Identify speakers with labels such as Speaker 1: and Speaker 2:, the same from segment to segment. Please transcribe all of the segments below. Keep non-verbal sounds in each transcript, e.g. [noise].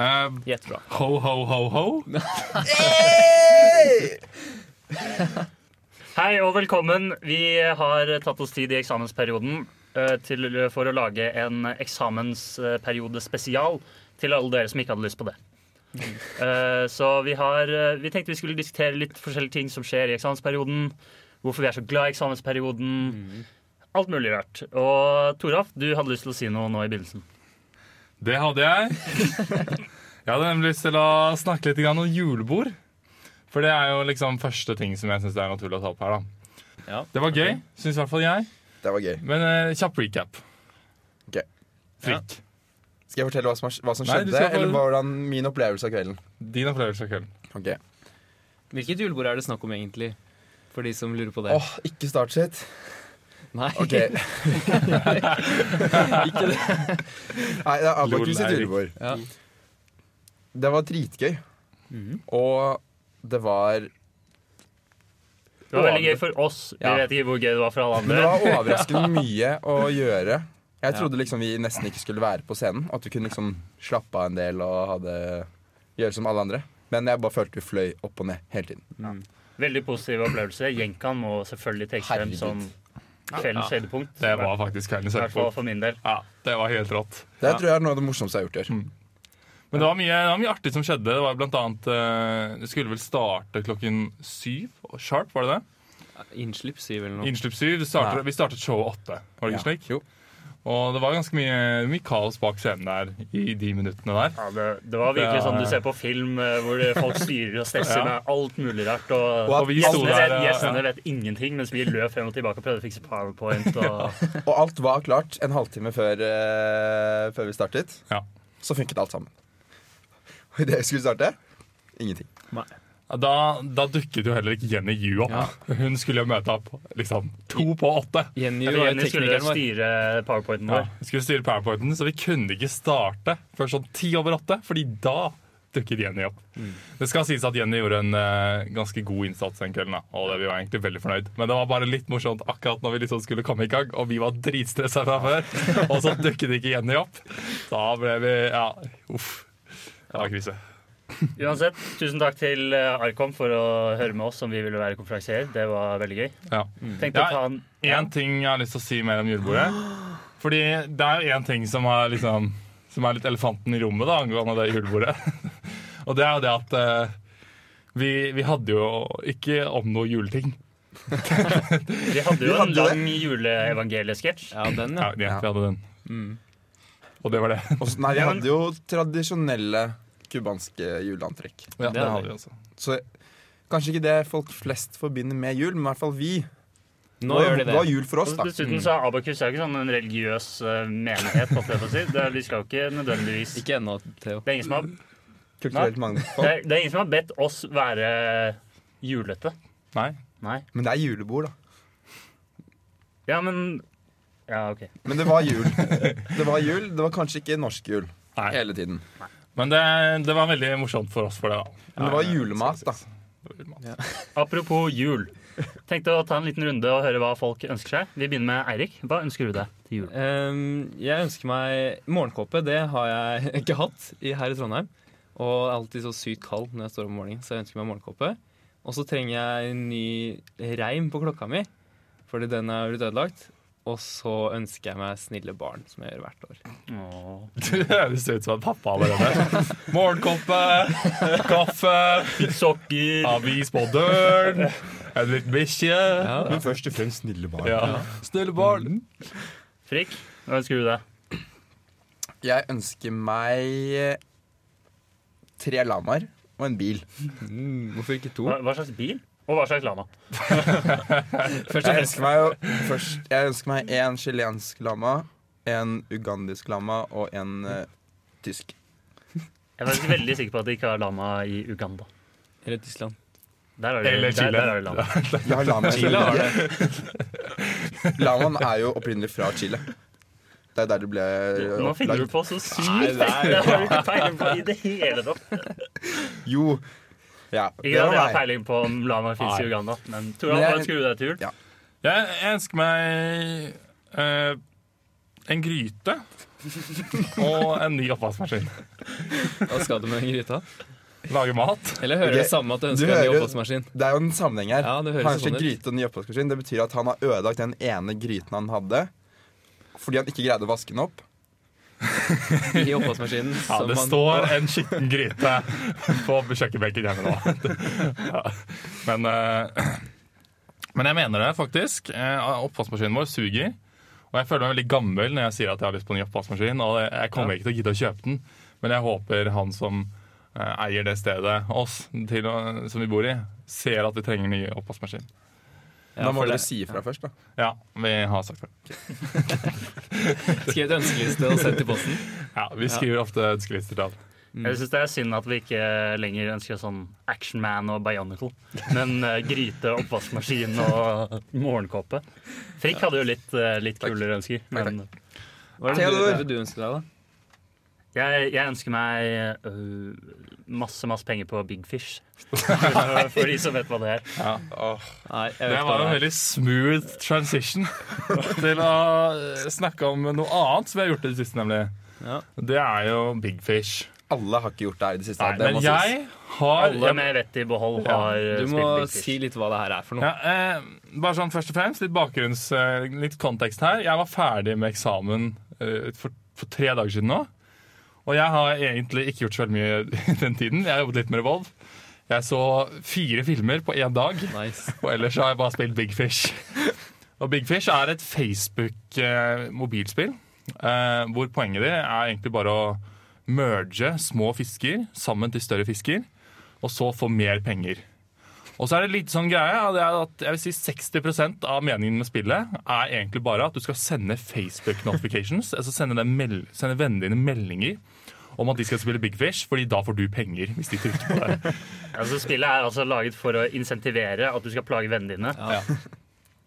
Speaker 1: Um,
Speaker 2: Gjett bra.
Speaker 1: ho, ho, ho, ho.
Speaker 2: Hei og velkommen. Vi har tatt oss tid i eksamensperioden eh, til, for å lage en eksamensperiodespesial til alle dere som ikke hadde lyst på det. Eh, Så vi, har, eh, vi tenkte vi skulle diskutere litt forskjellige ting som skjer i eksamensperioden. Hvorfor vi er så glad i eksamensperioden. Alt mulig rart. Og Toralf, du hadde lyst til å si noe nå i begynnelsen.
Speaker 1: Det hadde jeg. Jeg hadde nemlig lyst til å snakke litt grann om julebord. For det er jo liksom første ting som jeg syns er naturlig å ta opp her. da.
Speaker 3: Ja,
Speaker 1: det var gøy, syns i hvert fall jeg.
Speaker 4: Det var gøy.
Speaker 1: Men eh, kjapp recap.
Speaker 4: Ok.
Speaker 1: Frikk.
Speaker 4: Skal jeg fortelle hva som, hva som
Speaker 1: Nei, du
Speaker 4: skjedde,
Speaker 1: skal få-
Speaker 4: eller hvordan min opplevelse av kvelden?
Speaker 1: Din opplevelse av kvelden.
Speaker 4: Ok.
Speaker 3: Hvilket julebord er det snakk om egentlig? For de som lurer på det.
Speaker 4: Åh, ikke start sitt.
Speaker 3: Nei,
Speaker 4: [laughs] Ok.
Speaker 3: ikke det.
Speaker 4: Nei, det er Abakus
Speaker 1: Lol,
Speaker 4: sitt
Speaker 1: Eirik.
Speaker 4: julebord.
Speaker 3: Ja.
Speaker 4: Det var dritgøy. Og det var
Speaker 2: Det var veldig gøy for oss. Vi
Speaker 4: Ja.
Speaker 2: vet ikke hvor gøy det var for alle
Speaker 4: Men det
Speaker 2: andre.
Speaker 4: var overraskende [laughs] mye å gjøre. Jeg trodde liksom vi nesten ikke skulle være på scenen. At vi kunne liksom slappe av en del og ha det- gjøre som alle andre. Men jeg bare følte vi fløy opp og ned hele tiden.
Speaker 2: Veldig positiv opplevelse. Jenkan må selvfølgelig trekke frem
Speaker 4: Herregud.
Speaker 2: som kveldens høydepunkt.
Speaker 1: Det var faktisk kveldens
Speaker 2: I hvert fall
Speaker 1: høydepunkt.
Speaker 2: for min del.
Speaker 1: Ja, det var helt rått.
Speaker 4: Det tror jeg er noe av det morsomste jeg har gjort i år.
Speaker 1: Men det var, mye, det var mye artig som skjedde. Det var blant annet, eh, det skulle vel starte klokken syv sharp, var det det?
Speaker 3: [laughs] Innslipp sier vel noe.
Speaker 1: Innslipp syv. det Starter, vi startet showet åtte, var det ikke slik?
Speaker 4: Jo.
Speaker 1: Og det var ganske mye, mye kaos bak scenen der i de minuttene der.
Speaker 2: Ja, det, det var virkelig
Speaker 1: Det er-
Speaker 2: sånn du ser på film, eh, hvor det- folk styrer og stresser
Speaker 1: Ja.
Speaker 2: med alt mulig rart. Og,
Speaker 1: Og vi sto
Speaker 2: gjestene,
Speaker 1: der
Speaker 2: vet,
Speaker 1: og-
Speaker 2: gjestene vet ingenting, mens vi løp frem og tilbake og prøvde å fikse powerpoint. Og,
Speaker 4: Og alt var klart en halvtime før, eh, før vi startet.
Speaker 1: Ja.
Speaker 4: Så funket alt sammen. [laughs] Og idet vi skulle starte ingenting.
Speaker 1: Da, da dukket jo heller ikke Jenny Yu opp. Hun skulle jo møte opp liksom to på åtte.
Speaker 3: Jenny
Speaker 2: Ja, for
Speaker 3: var jo
Speaker 2: Jenny skulle
Speaker 3: teknikeren vår.
Speaker 2: styre powerpointen
Speaker 1: Ja.
Speaker 2: vår.
Speaker 1: Vi skulle styre powerpointen, så vi kunne ikke starte før sånn ti over åtte. Fordi da dukket Jenny opp. Det skal sies at Jenny gjorde en eh, ganske god innsats den kvelden. Da. Og det, vi var egentlig veldig fornøyd. Men det var bare litt morsomt akkurat når vi liksom skulle komme i gang, og vi var dritstressa fra [laughs] før. Og så dukket ikke Jenny opp. Da ble vi Ja, uff. Det var krise.
Speaker 2: Uansett, tusen takk til eh, Arkom for å høre med oss om vi ville være konferansier. Det var veldig gøy.
Speaker 1: Ja.
Speaker 2: Tenkte
Speaker 1: Ja,
Speaker 2: å ta en
Speaker 1: Én ting jeg har lyst til å si mer om julebordet. [gasps] Fordi det er jo én ting som er, liksom, som er litt elefanten i rommet da, angående det julebordet. [laughs] Og det er jo det at eh, vi, vi hadde jo ikke om noe juleting.
Speaker 2: Vi hadde jo
Speaker 4: Vi
Speaker 2: en
Speaker 4: hadde
Speaker 2: lang juleevangeliesketsj.
Speaker 3: Ja, den,
Speaker 1: Ja,
Speaker 3: ja.
Speaker 1: ja, vi hadde den. Og det var det.
Speaker 4: [laughs] Og så, nei, vi
Speaker 2: Ja, men-
Speaker 4: hadde jo tradisjonelle cubanske juleantrekk.
Speaker 1: Ja, [laughs] det,
Speaker 3: hadde
Speaker 1: hadde
Speaker 3: vi.
Speaker 1: vi også.
Speaker 4: Så kanskje ikke det folk flest forbinder med jul, men i hvert fall vi.
Speaker 3: Nå
Speaker 4: det, var-
Speaker 3: gjør de
Speaker 4: det var
Speaker 3: det.
Speaker 4: jul for oss,
Speaker 2: [laughs]
Speaker 4: da.
Speaker 2: Og dessuten så er Abakus er jo ikke sånn en religiøs eh, menighet. På det, å si. det, vi skal jo ikke nødvendigvis
Speaker 3: Ikke ennå, Theo.
Speaker 2: Det er ingen som har
Speaker 4: Kulturelt
Speaker 2: Det
Speaker 4: mangfold.
Speaker 2: er, det er ingen som har bedt oss være julete.
Speaker 1: Nei.
Speaker 2: Nei.
Speaker 4: Men det er julebord, da.
Speaker 2: Ja, men Ja, OK.
Speaker 4: Men det var jul. Det var jul, det var kanskje ikke norsk jul
Speaker 1: Nei.
Speaker 4: hele tiden.
Speaker 1: Men det, det var veldig morsomt for oss for det, da.
Speaker 4: Men det var julemat, da.
Speaker 1: [laughs]
Speaker 2: Apropos jul. Tenkte å ta en liten runde og høre hva folk ønsker seg. Vi begynner med Eirik. Hva ønsker du deg til jul?
Speaker 3: Ehm, jeg ønsker meg morgenkåpe. Det har jeg [laughs] ikke hatt i, her i Trondheim. Og jeg er alltid så sykt kald når jeg står opp om morgenen, så jeg ønsker meg morgenkåpe. Og så trenger jeg en ny reim på klokka mi, fordi den er blitt ødelagt. Og så ønsker jeg meg snille barn, som jeg gjør hvert år.
Speaker 2: Åh.
Speaker 1: Du høres ut som en pappa [laughs] allerede. Morgenkoppe, kaffe,
Speaker 2: Sokker.
Speaker 1: avis på døren, en liten bikkje.
Speaker 4: Men først og fremst snille barn.
Speaker 1: Ja. Mm. Snille barn.
Speaker 2: Frikk. Hva ønsker du deg?
Speaker 4: Jeg ønsker meg eh, tre lamaer og en bil.
Speaker 2: Mm.
Speaker 3: hvorfor ikke to?
Speaker 2: Hva, hva slags bil? Og hva slags lama?
Speaker 3: Først og fremst
Speaker 4: Jeg ønsker meg jo først Jeg ønsker meg en chilensk lama, en ugandisk lama og en eh, tysk.
Speaker 2: Jeg er faktisk veldig sikker på at de ikke har lama i Uganda.
Speaker 3: Eller Tyskland.
Speaker 2: Der har de,
Speaker 1: Eller Chile.
Speaker 2: Der, der har de lama.
Speaker 4: Jeg har lama i
Speaker 3: Chile har
Speaker 4: Norge.
Speaker 3: det.
Speaker 4: Lamaen er jo opprinnelig fra Chile. Det er der det ble
Speaker 2: Nå finner du
Speaker 4: opplagd.
Speaker 2: på så sykt! Det har du ikke peiling på i det hele tatt.
Speaker 4: Jo. Ja, det
Speaker 2: Ikke at
Speaker 4: var
Speaker 2: jeg har
Speaker 4: meg.
Speaker 2: peiling på om lama fins i
Speaker 1: Nei.
Speaker 2: Uganda, men tror du
Speaker 4: Men jeg-
Speaker 2: han skulle deg til jul?
Speaker 4: Ja.
Speaker 1: Jeg, jeg ønsker meg eh, en gryte og en ny oppvaskmaskin.
Speaker 3: Hva skal du med den gryta?
Speaker 1: Lage mat.
Speaker 3: Eller hører
Speaker 4: Ok,
Speaker 3: det samme at du
Speaker 4: du
Speaker 3: ønsker deg en ny
Speaker 4: hører-
Speaker 3: oppvaskmaskin?
Speaker 4: Det er jo en sammenheng her.
Speaker 3: Ja, det høres
Speaker 4: Kanskje
Speaker 3: sånn ut.
Speaker 4: gryte og ny oppvaskmaskin. Det betyr at han har ødelagt den ene gryten han hadde fordi han ikke greide å vaske den opp.
Speaker 3: I oppvaskmaskinen.
Speaker 1: Ja,
Speaker 3: som
Speaker 1: det
Speaker 3: man-
Speaker 1: står en skitten gryte på kjøkkenbenken hjemme nå. Ja. Men, eh, men jeg mener det faktisk. Eh, Oppvaskmaskinen vår suger. Og jeg føler meg veldig gammel når jeg sier at jeg har lyst på en ny oppvaskmaskin. Og jeg kommer ikke til å gidde å kjøpe den, men jeg håper han som eh, eier det stedet, oss, til å, som vi bor i, ser at vi trenger en ny oppvaskmaskin.
Speaker 3: Ja,
Speaker 4: da må
Speaker 3: for
Speaker 4: dere
Speaker 3: det-
Speaker 4: si ifra først, da.
Speaker 1: Ja, vi har sagt det.
Speaker 3: Skriv et ønskeliste og send til posten.
Speaker 1: Ja, vi skriver ofte ønskelister til alt.
Speaker 3: Mm.
Speaker 2: Jeg syns det er synd at vi ikke lenger ønsker sånn Actionman og Bionicle,
Speaker 3: [laughs]
Speaker 2: men eh, gryte, oppvaskmaskin og morgenkåpe. Frikk hadde jo litt, eh, litt kulere ønsker, men
Speaker 3: Hva er det du,
Speaker 4: Theodor.
Speaker 3: hva er det du ønsker deg, da?
Speaker 2: jeg, jeg ønsker meg øh, masse, masse penger på Big Fish.
Speaker 3: [laughs]
Speaker 2: For de som vet hva det er.
Speaker 3: Nei, jeg vet
Speaker 1: Det
Speaker 3: ikke hva
Speaker 1: var en
Speaker 3: det er.
Speaker 1: veldig smooth transition til å eh, snakke om noe annet som vi har gjort i det siste, nemlig.
Speaker 3: Ja.
Speaker 1: Det er jo Big Fish.
Speaker 4: Alle har ikke gjort det her i det siste.
Speaker 1: Nei,
Speaker 4: det
Speaker 1: men
Speaker 4: må sies.
Speaker 1: jeg har
Speaker 2: Alle med vett i behold har eh,
Speaker 3: Du må
Speaker 2: spilt Big Fish.
Speaker 3: si litt hva det her er for noe.
Speaker 1: ja, eh, Bare sånn først og fremst, litt bakgrunns, eh, litt kontekst her. Jeg var ferdig med eksamen eh, for, for tre dager siden nå. Og jeg har egentlig ikke gjort så veldig mye [laughs] i den tiden. Jeg har jobbet litt med Revolve. Jeg så fire filmer på én dag. [laughs]
Speaker 3: Nice.
Speaker 1: Og ellers har jeg bare spilt Big Fish. Og Big Fish er et Facebook-mobilspill, eh, hvor poenget ditt er egentlig bare å merge små fisker sammen til større fisker, og så få mer penger. Og så er det litt sånn greie, og det er at jeg vil si 60 av meningen med spillet er egentlig bare at du skal sende Facebook notifications, [laughs] altså sende, dem mel sende vennene dine meldinger om at de skal spille Big Fish, fordi da får du penger hvis de trykker på det.
Speaker 2: Altså, spillet er altså laget for å insentivere at du skal plage vennene dine,
Speaker 1: Ja.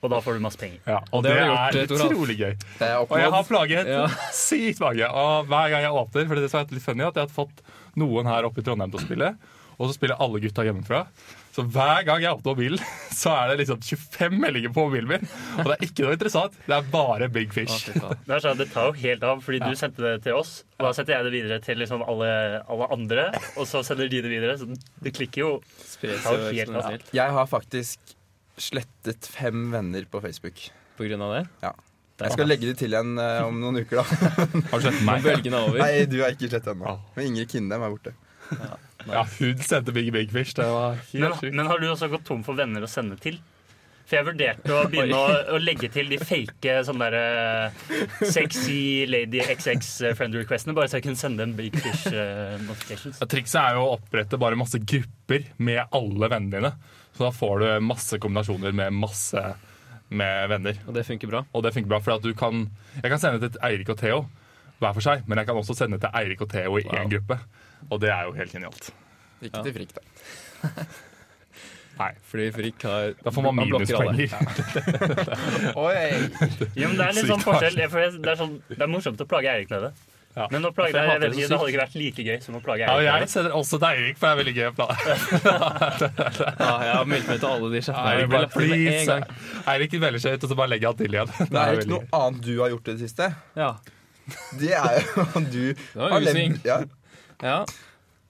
Speaker 2: og da får du masse penger.
Speaker 1: Ja, og
Speaker 3: det
Speaker 1: det,
Speaker 3: har du
Speaker 1: er
Speaker 3: gjort, eh, Toralf.
Speaker 1: utrolig gøy.
Speaker 4: Det er
Speaker 1: Og jeg har
Speaker 4: oppnådd.
Speaker 1: plaget
Speaker 3: Ja.
Speaker 1: [laughs] sykt mange. Og hver gang jeg åpner, for det som er litt funny, at jeg har fått noen her oppe i Trondheim til å spille, og så spiller alle gutta hjemmefra. Så hver gang jeg åpner mobilen, [laughs] så er det liksom 25 meldinger på mobilen min. Og det er ikke noe interessant. Det er bare Big
Speaker 3: Å,
Speaker 1: Fish.
Speaker 3: fy faen.
Speaker 2: Det, er sånn, at det tar jo helt av, fordi du sendte det til oss, og da setter jeg det videre til liksom alle, alle andre, og så sender de det videre, så det klikker jo.
Speaker 3: Spres
Speaker 2: Det er
Speaker 3: jo
Speaker 2: jo helt
Speaker 3: eksponentielt
Speaker 4: jeg har faktisk slettet fem venner på Facebook.
Speaker 3: på grunn av det.
Speaker 4: Jeg skal legge de til igjen eh, om noen
Speaker 1: [laughs]
Speaker 4: uker, da.
Speaker 1: Har du sett meg?
Speaker 3: Bølgen er over.
Speaker 4: Nei, du har ikke sett ennå. Men Ingrid Kindem er borte.
Speaker 1: Ja, hun sendte Big Big Fish. Det var
Speaker 2: Men,
Speaker 1: helt sjukt.
Speaker 2: men har du også gått tom for venner å sende til? For jeg vurderte å begynne å, å legge til de fake sånne der, eh, sexy lady XX friend requestene, bare så jeg kunne sende en big fish eh, notifications.
Speaker 1: Ja, Trikset er jo å opprette bare masse grupper med alle vennene dine. Så da får du masse kombinasjoner med masse med venner.
Speaker 3: Og det funker bra.
Speaker 1: Og det funker bra, for at du kan, jeg kan sende til Eirik og Theo hver for seg, men jeg kan også sende til Eirik og Theo i én gruppe. Og det er jo helt genialt.
Speaker 4: Ikke til frikk, da.
Speaker 1: Nei,
Speaker 3: Fordi Frikk har
Speaker 1: da får man
Speaker 3: han blokker alle.
Speaker 1: minuspenger.
Speaker 4: Oi.
Speaker 2: Jo, men det er litt sånn
Speaker 1: Sykt hardt.
Speaker 2: forskjell. For jeg- det, er sånn, det er morsomt å plage Eirik med det.
Speaker 1: Ja.
Speaker 2: Men å plage
Speaker 3: For jeg
Speaker 2: deg,
Speaker 3: hater
Speaker 2: vet
Speaker 3: det så
Speaker 2: ikke, det hadde ikke vært like gøy som å plage
Speaker 1: Ja, og
Speaker 2: Eirik. med
Speaker 1: jeg
Speaker 2: det.
Speaker 1: sender også til Eirik, for det er veldig gøy. å plage.
Speaker 3: Ja, jeg har meldt meg til alle de chattene.
Speaker 1: Eirik
Speaker 3: Jeg ble
Speaker 1: bare
Speaker 3: lagt til med en
Speaker 1: please.
Speaker 3: gang.
Speaker 1: Eirik velger seg ut, og så bare legger han til igjen. [laughs]
Speaker 4: Det er jo
Speaker 1: veldig
Speaker 4: ikke
Speaker 1: gøy.
Speaker 4: noe annet du har gjort i det siste.
Speaker 3: Ja.
Speaker 1: [laughs]
Speaker 4: Det er jo at du
Speaker 3: var
Speaker 4: har
Speaker 3: usving.
Speaker 4: levd, ja,
Speaker 3: ja.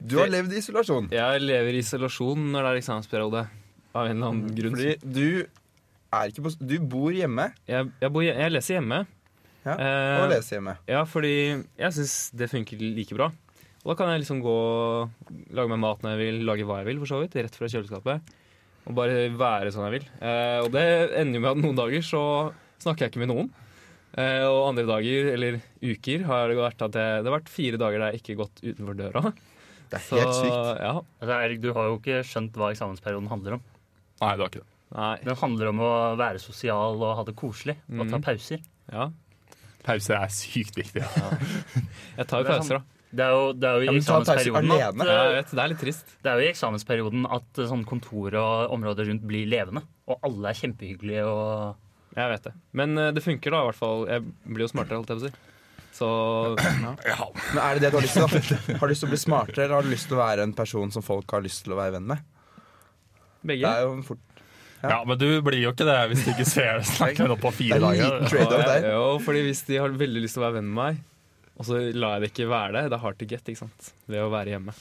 Speaker 4: du har levd i isolasjon.
Speaker 3: Jeg lever i isolasjon når det er eksamensperiode. Av en eller annen grunn.
Speaker 4: Fordi du er ikke på s- Du bor hjemme
Speaker 3: Jeg, jeg, bor, hje- jeg leser hjemme.
Speaker 4: Ja,
Speaker 3: Eh,
Speaker 4: og leser hjemme.
Speaker 3: Ja, fordi jeg syns det funker like bra. Og da kan jeg liksom gå lage meg mat når jeg vil, lage hva jeg vil, for så vidt. Rett fra kjøleskapet. Og bare være sånn jeg vil. Eh, og det ender jo med at noen dager så snakker jeg ikke med noen. Eh, og andre dager, eller uker, har det vært at jeg, det har vært fire dager der jeg ikke har gått utenfor døra.
Speaker 4: Det er
Speaker 3: Så,
Speaker 4: helt sykt.
Speaker 3: Ja.
Speaker 2: Altså, Eirik, du har jo ikke skjønt hva eksamensperioden handler om.
Speaker 1: Nei, det var ikke det.
Speaker 3: Nei.
Speaker 2: Den handler om å være sosial og ha det koselig og ta
Speaker 3: Mhm.
Speaker 2: pauser.
Speaker 3: Ja.
Speaker 1: Pause er sykt viktig.
Speaker 3: Jeg tar jo
Speaker 2: Det er sånn
Speaker 3: pauser, da.
Speaker 2: Det er jo, det er jo i
Speaker 4: Ja, men ta pauser
Speaker 2: eksamensperioden at,
Speaker 4: alene.
Speaker 2: eh,
Speaker 3: Ja, jeg vet, det er litt trist.
Speaker 2: det er jo i eksamensperioden at eh, sånn kontor og områder rundt blir levende. Og alle er kjempehyggelige og
Speaker 3: Jeg vet det. Men eh, det funker, da, i hvert fall. Jeg blir jo smartere, holdt jeg på å si. Så
Speaker 1: Ja, [laughs]
Speaker 4: Men er det det du har lyst til? da? Har du lyst til å bli smartere, eller har du lyst til å være en person som folk har lyst til å være venn med? Det
Speaker 3: Begge?
Speaker 4: er jo en fort
Speaker 1: Ja, men du blir jo ikke det hvis du ikke ser det snakke opp på
Speaker 4: det
Speaker 1: fire
Speaker 4: er en
Speaker 1: dager.
Speaker 4: liten trade-off der.
Speaker 3: Jo, fordi hvis de har veldig lyst til å være venn med meg, og så lar jeg det ikke være det, det er hard to get, ikke sant? Ved å være hjemme.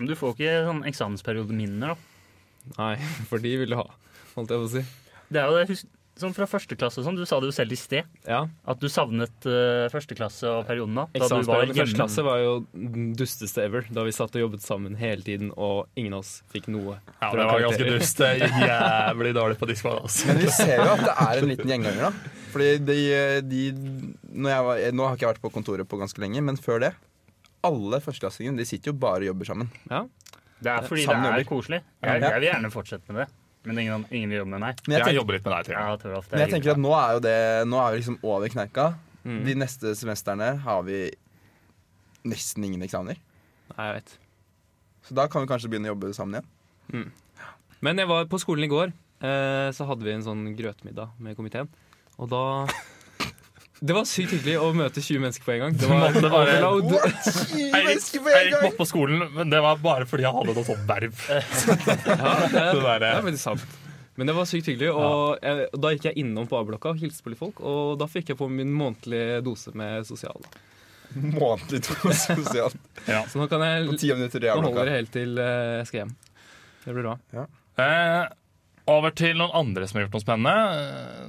Speaker 2: Men du får ikke sånn eksamensperiodeminner, da.
Speaker 3: Nei, [laughs] for de vil du ha, holdt jeg på å si.
Speaker 2: Det er jo det, husk, sånn fra første klasse og sånn, du sa det jo selv i sted,
Speaker 3: Ja,
Speaker 2: at du savnet uh, første klasse og perioden da. Da du var
Speaker 3: Eksamensperioden i første
Speaker 2: hjemme.
Speaker 3: klasse var jo den dusteste ever, da vi satt og jobbet sammen hele tiden, og ingen av oss fikk noe.
Speaker 1: Ja,
Speaker 3: fra
Speaker 1: det var ganske
Speaker 3: karakterer.
Speaker 1: dust. Det gikk Jævlig dårlig på diskvalg. Altså.
Speaker 4: Men vi ser jo at det er en liten gjenganger, da. Fordi de, de når jeg var, Nå har ikke jeg vært på kontoret på ganske lenge, men før det Alle førsteklassingene de sitter jo bare og jobber sammen.
Speaker 3: Ja.
Speaker 2: Det er fordi det
Speaker 4: Sammen
Speaker 2: er
Speaker 4: jobber.
Speaker 2: koselig. Jeg,
Speaker 4: Ja.
Speaker 2: jeg vil gjerne fortsette med det, men ingen, ingen vil jobbe med meg.
Speaker 4: Men jeg,
Speaker 1: Jeg
Speaker 4: tenker,
Speaker 1: jobber litt med deg, tror
Speaker 2: Ja,
Speaker 1: jeg.
Speaker 2: Toralf, det
Speaker 4: men
Speaker 2: er
Speaker 4: jeg tenker at
Speaker 2: hyggelig.
Speaker 4: nå er jo det Nå er vi liksom over kneika. De neste semestrene har vi nesten ingen eksamener.
Speaker 3: Nei, jeg vet.
Speaker 4: Så da kan vi kanskje begynne å jobbe sammen igjen.
Speaker 3: Men jeg var på skolen i går, eh, så hadde vi en sånn grøtmiddag med komiteen. Og da Det var sykt hyggelig å møte 20 mennesker på en gang. Det var
Speaker 1: Måtte bare-
Speaker 3: overload.
Speaker 1: Jeg gikk, jeg gikk bort på skolen, men det var bare fordi jeg hadde noe sånt verv.
Speaker 3: Ja, det,
Speaker 1: Det der,
Speaker 3: det
Speaker 1: eh.
Speaker 3: er veldig sant. Men det var sykt hyggelig. Og jeg, og da gikk jeg innom på A-blokka og hilste på litt folk. Og da fikk jeg på min månedlige dose med sosial.
Speaker 4: Månedlig to sosialt.
Speaker 3: Så nå kan jeg
Speaker 4: På ti minutter i
Speaker 3: nå holder
Speaker 4: avlokka.
Speaker 3: det helt til eh, jeg skal hjem. Det blir bra.
Speaker 1: Eh, over til noen andre som har gjort noe spennende.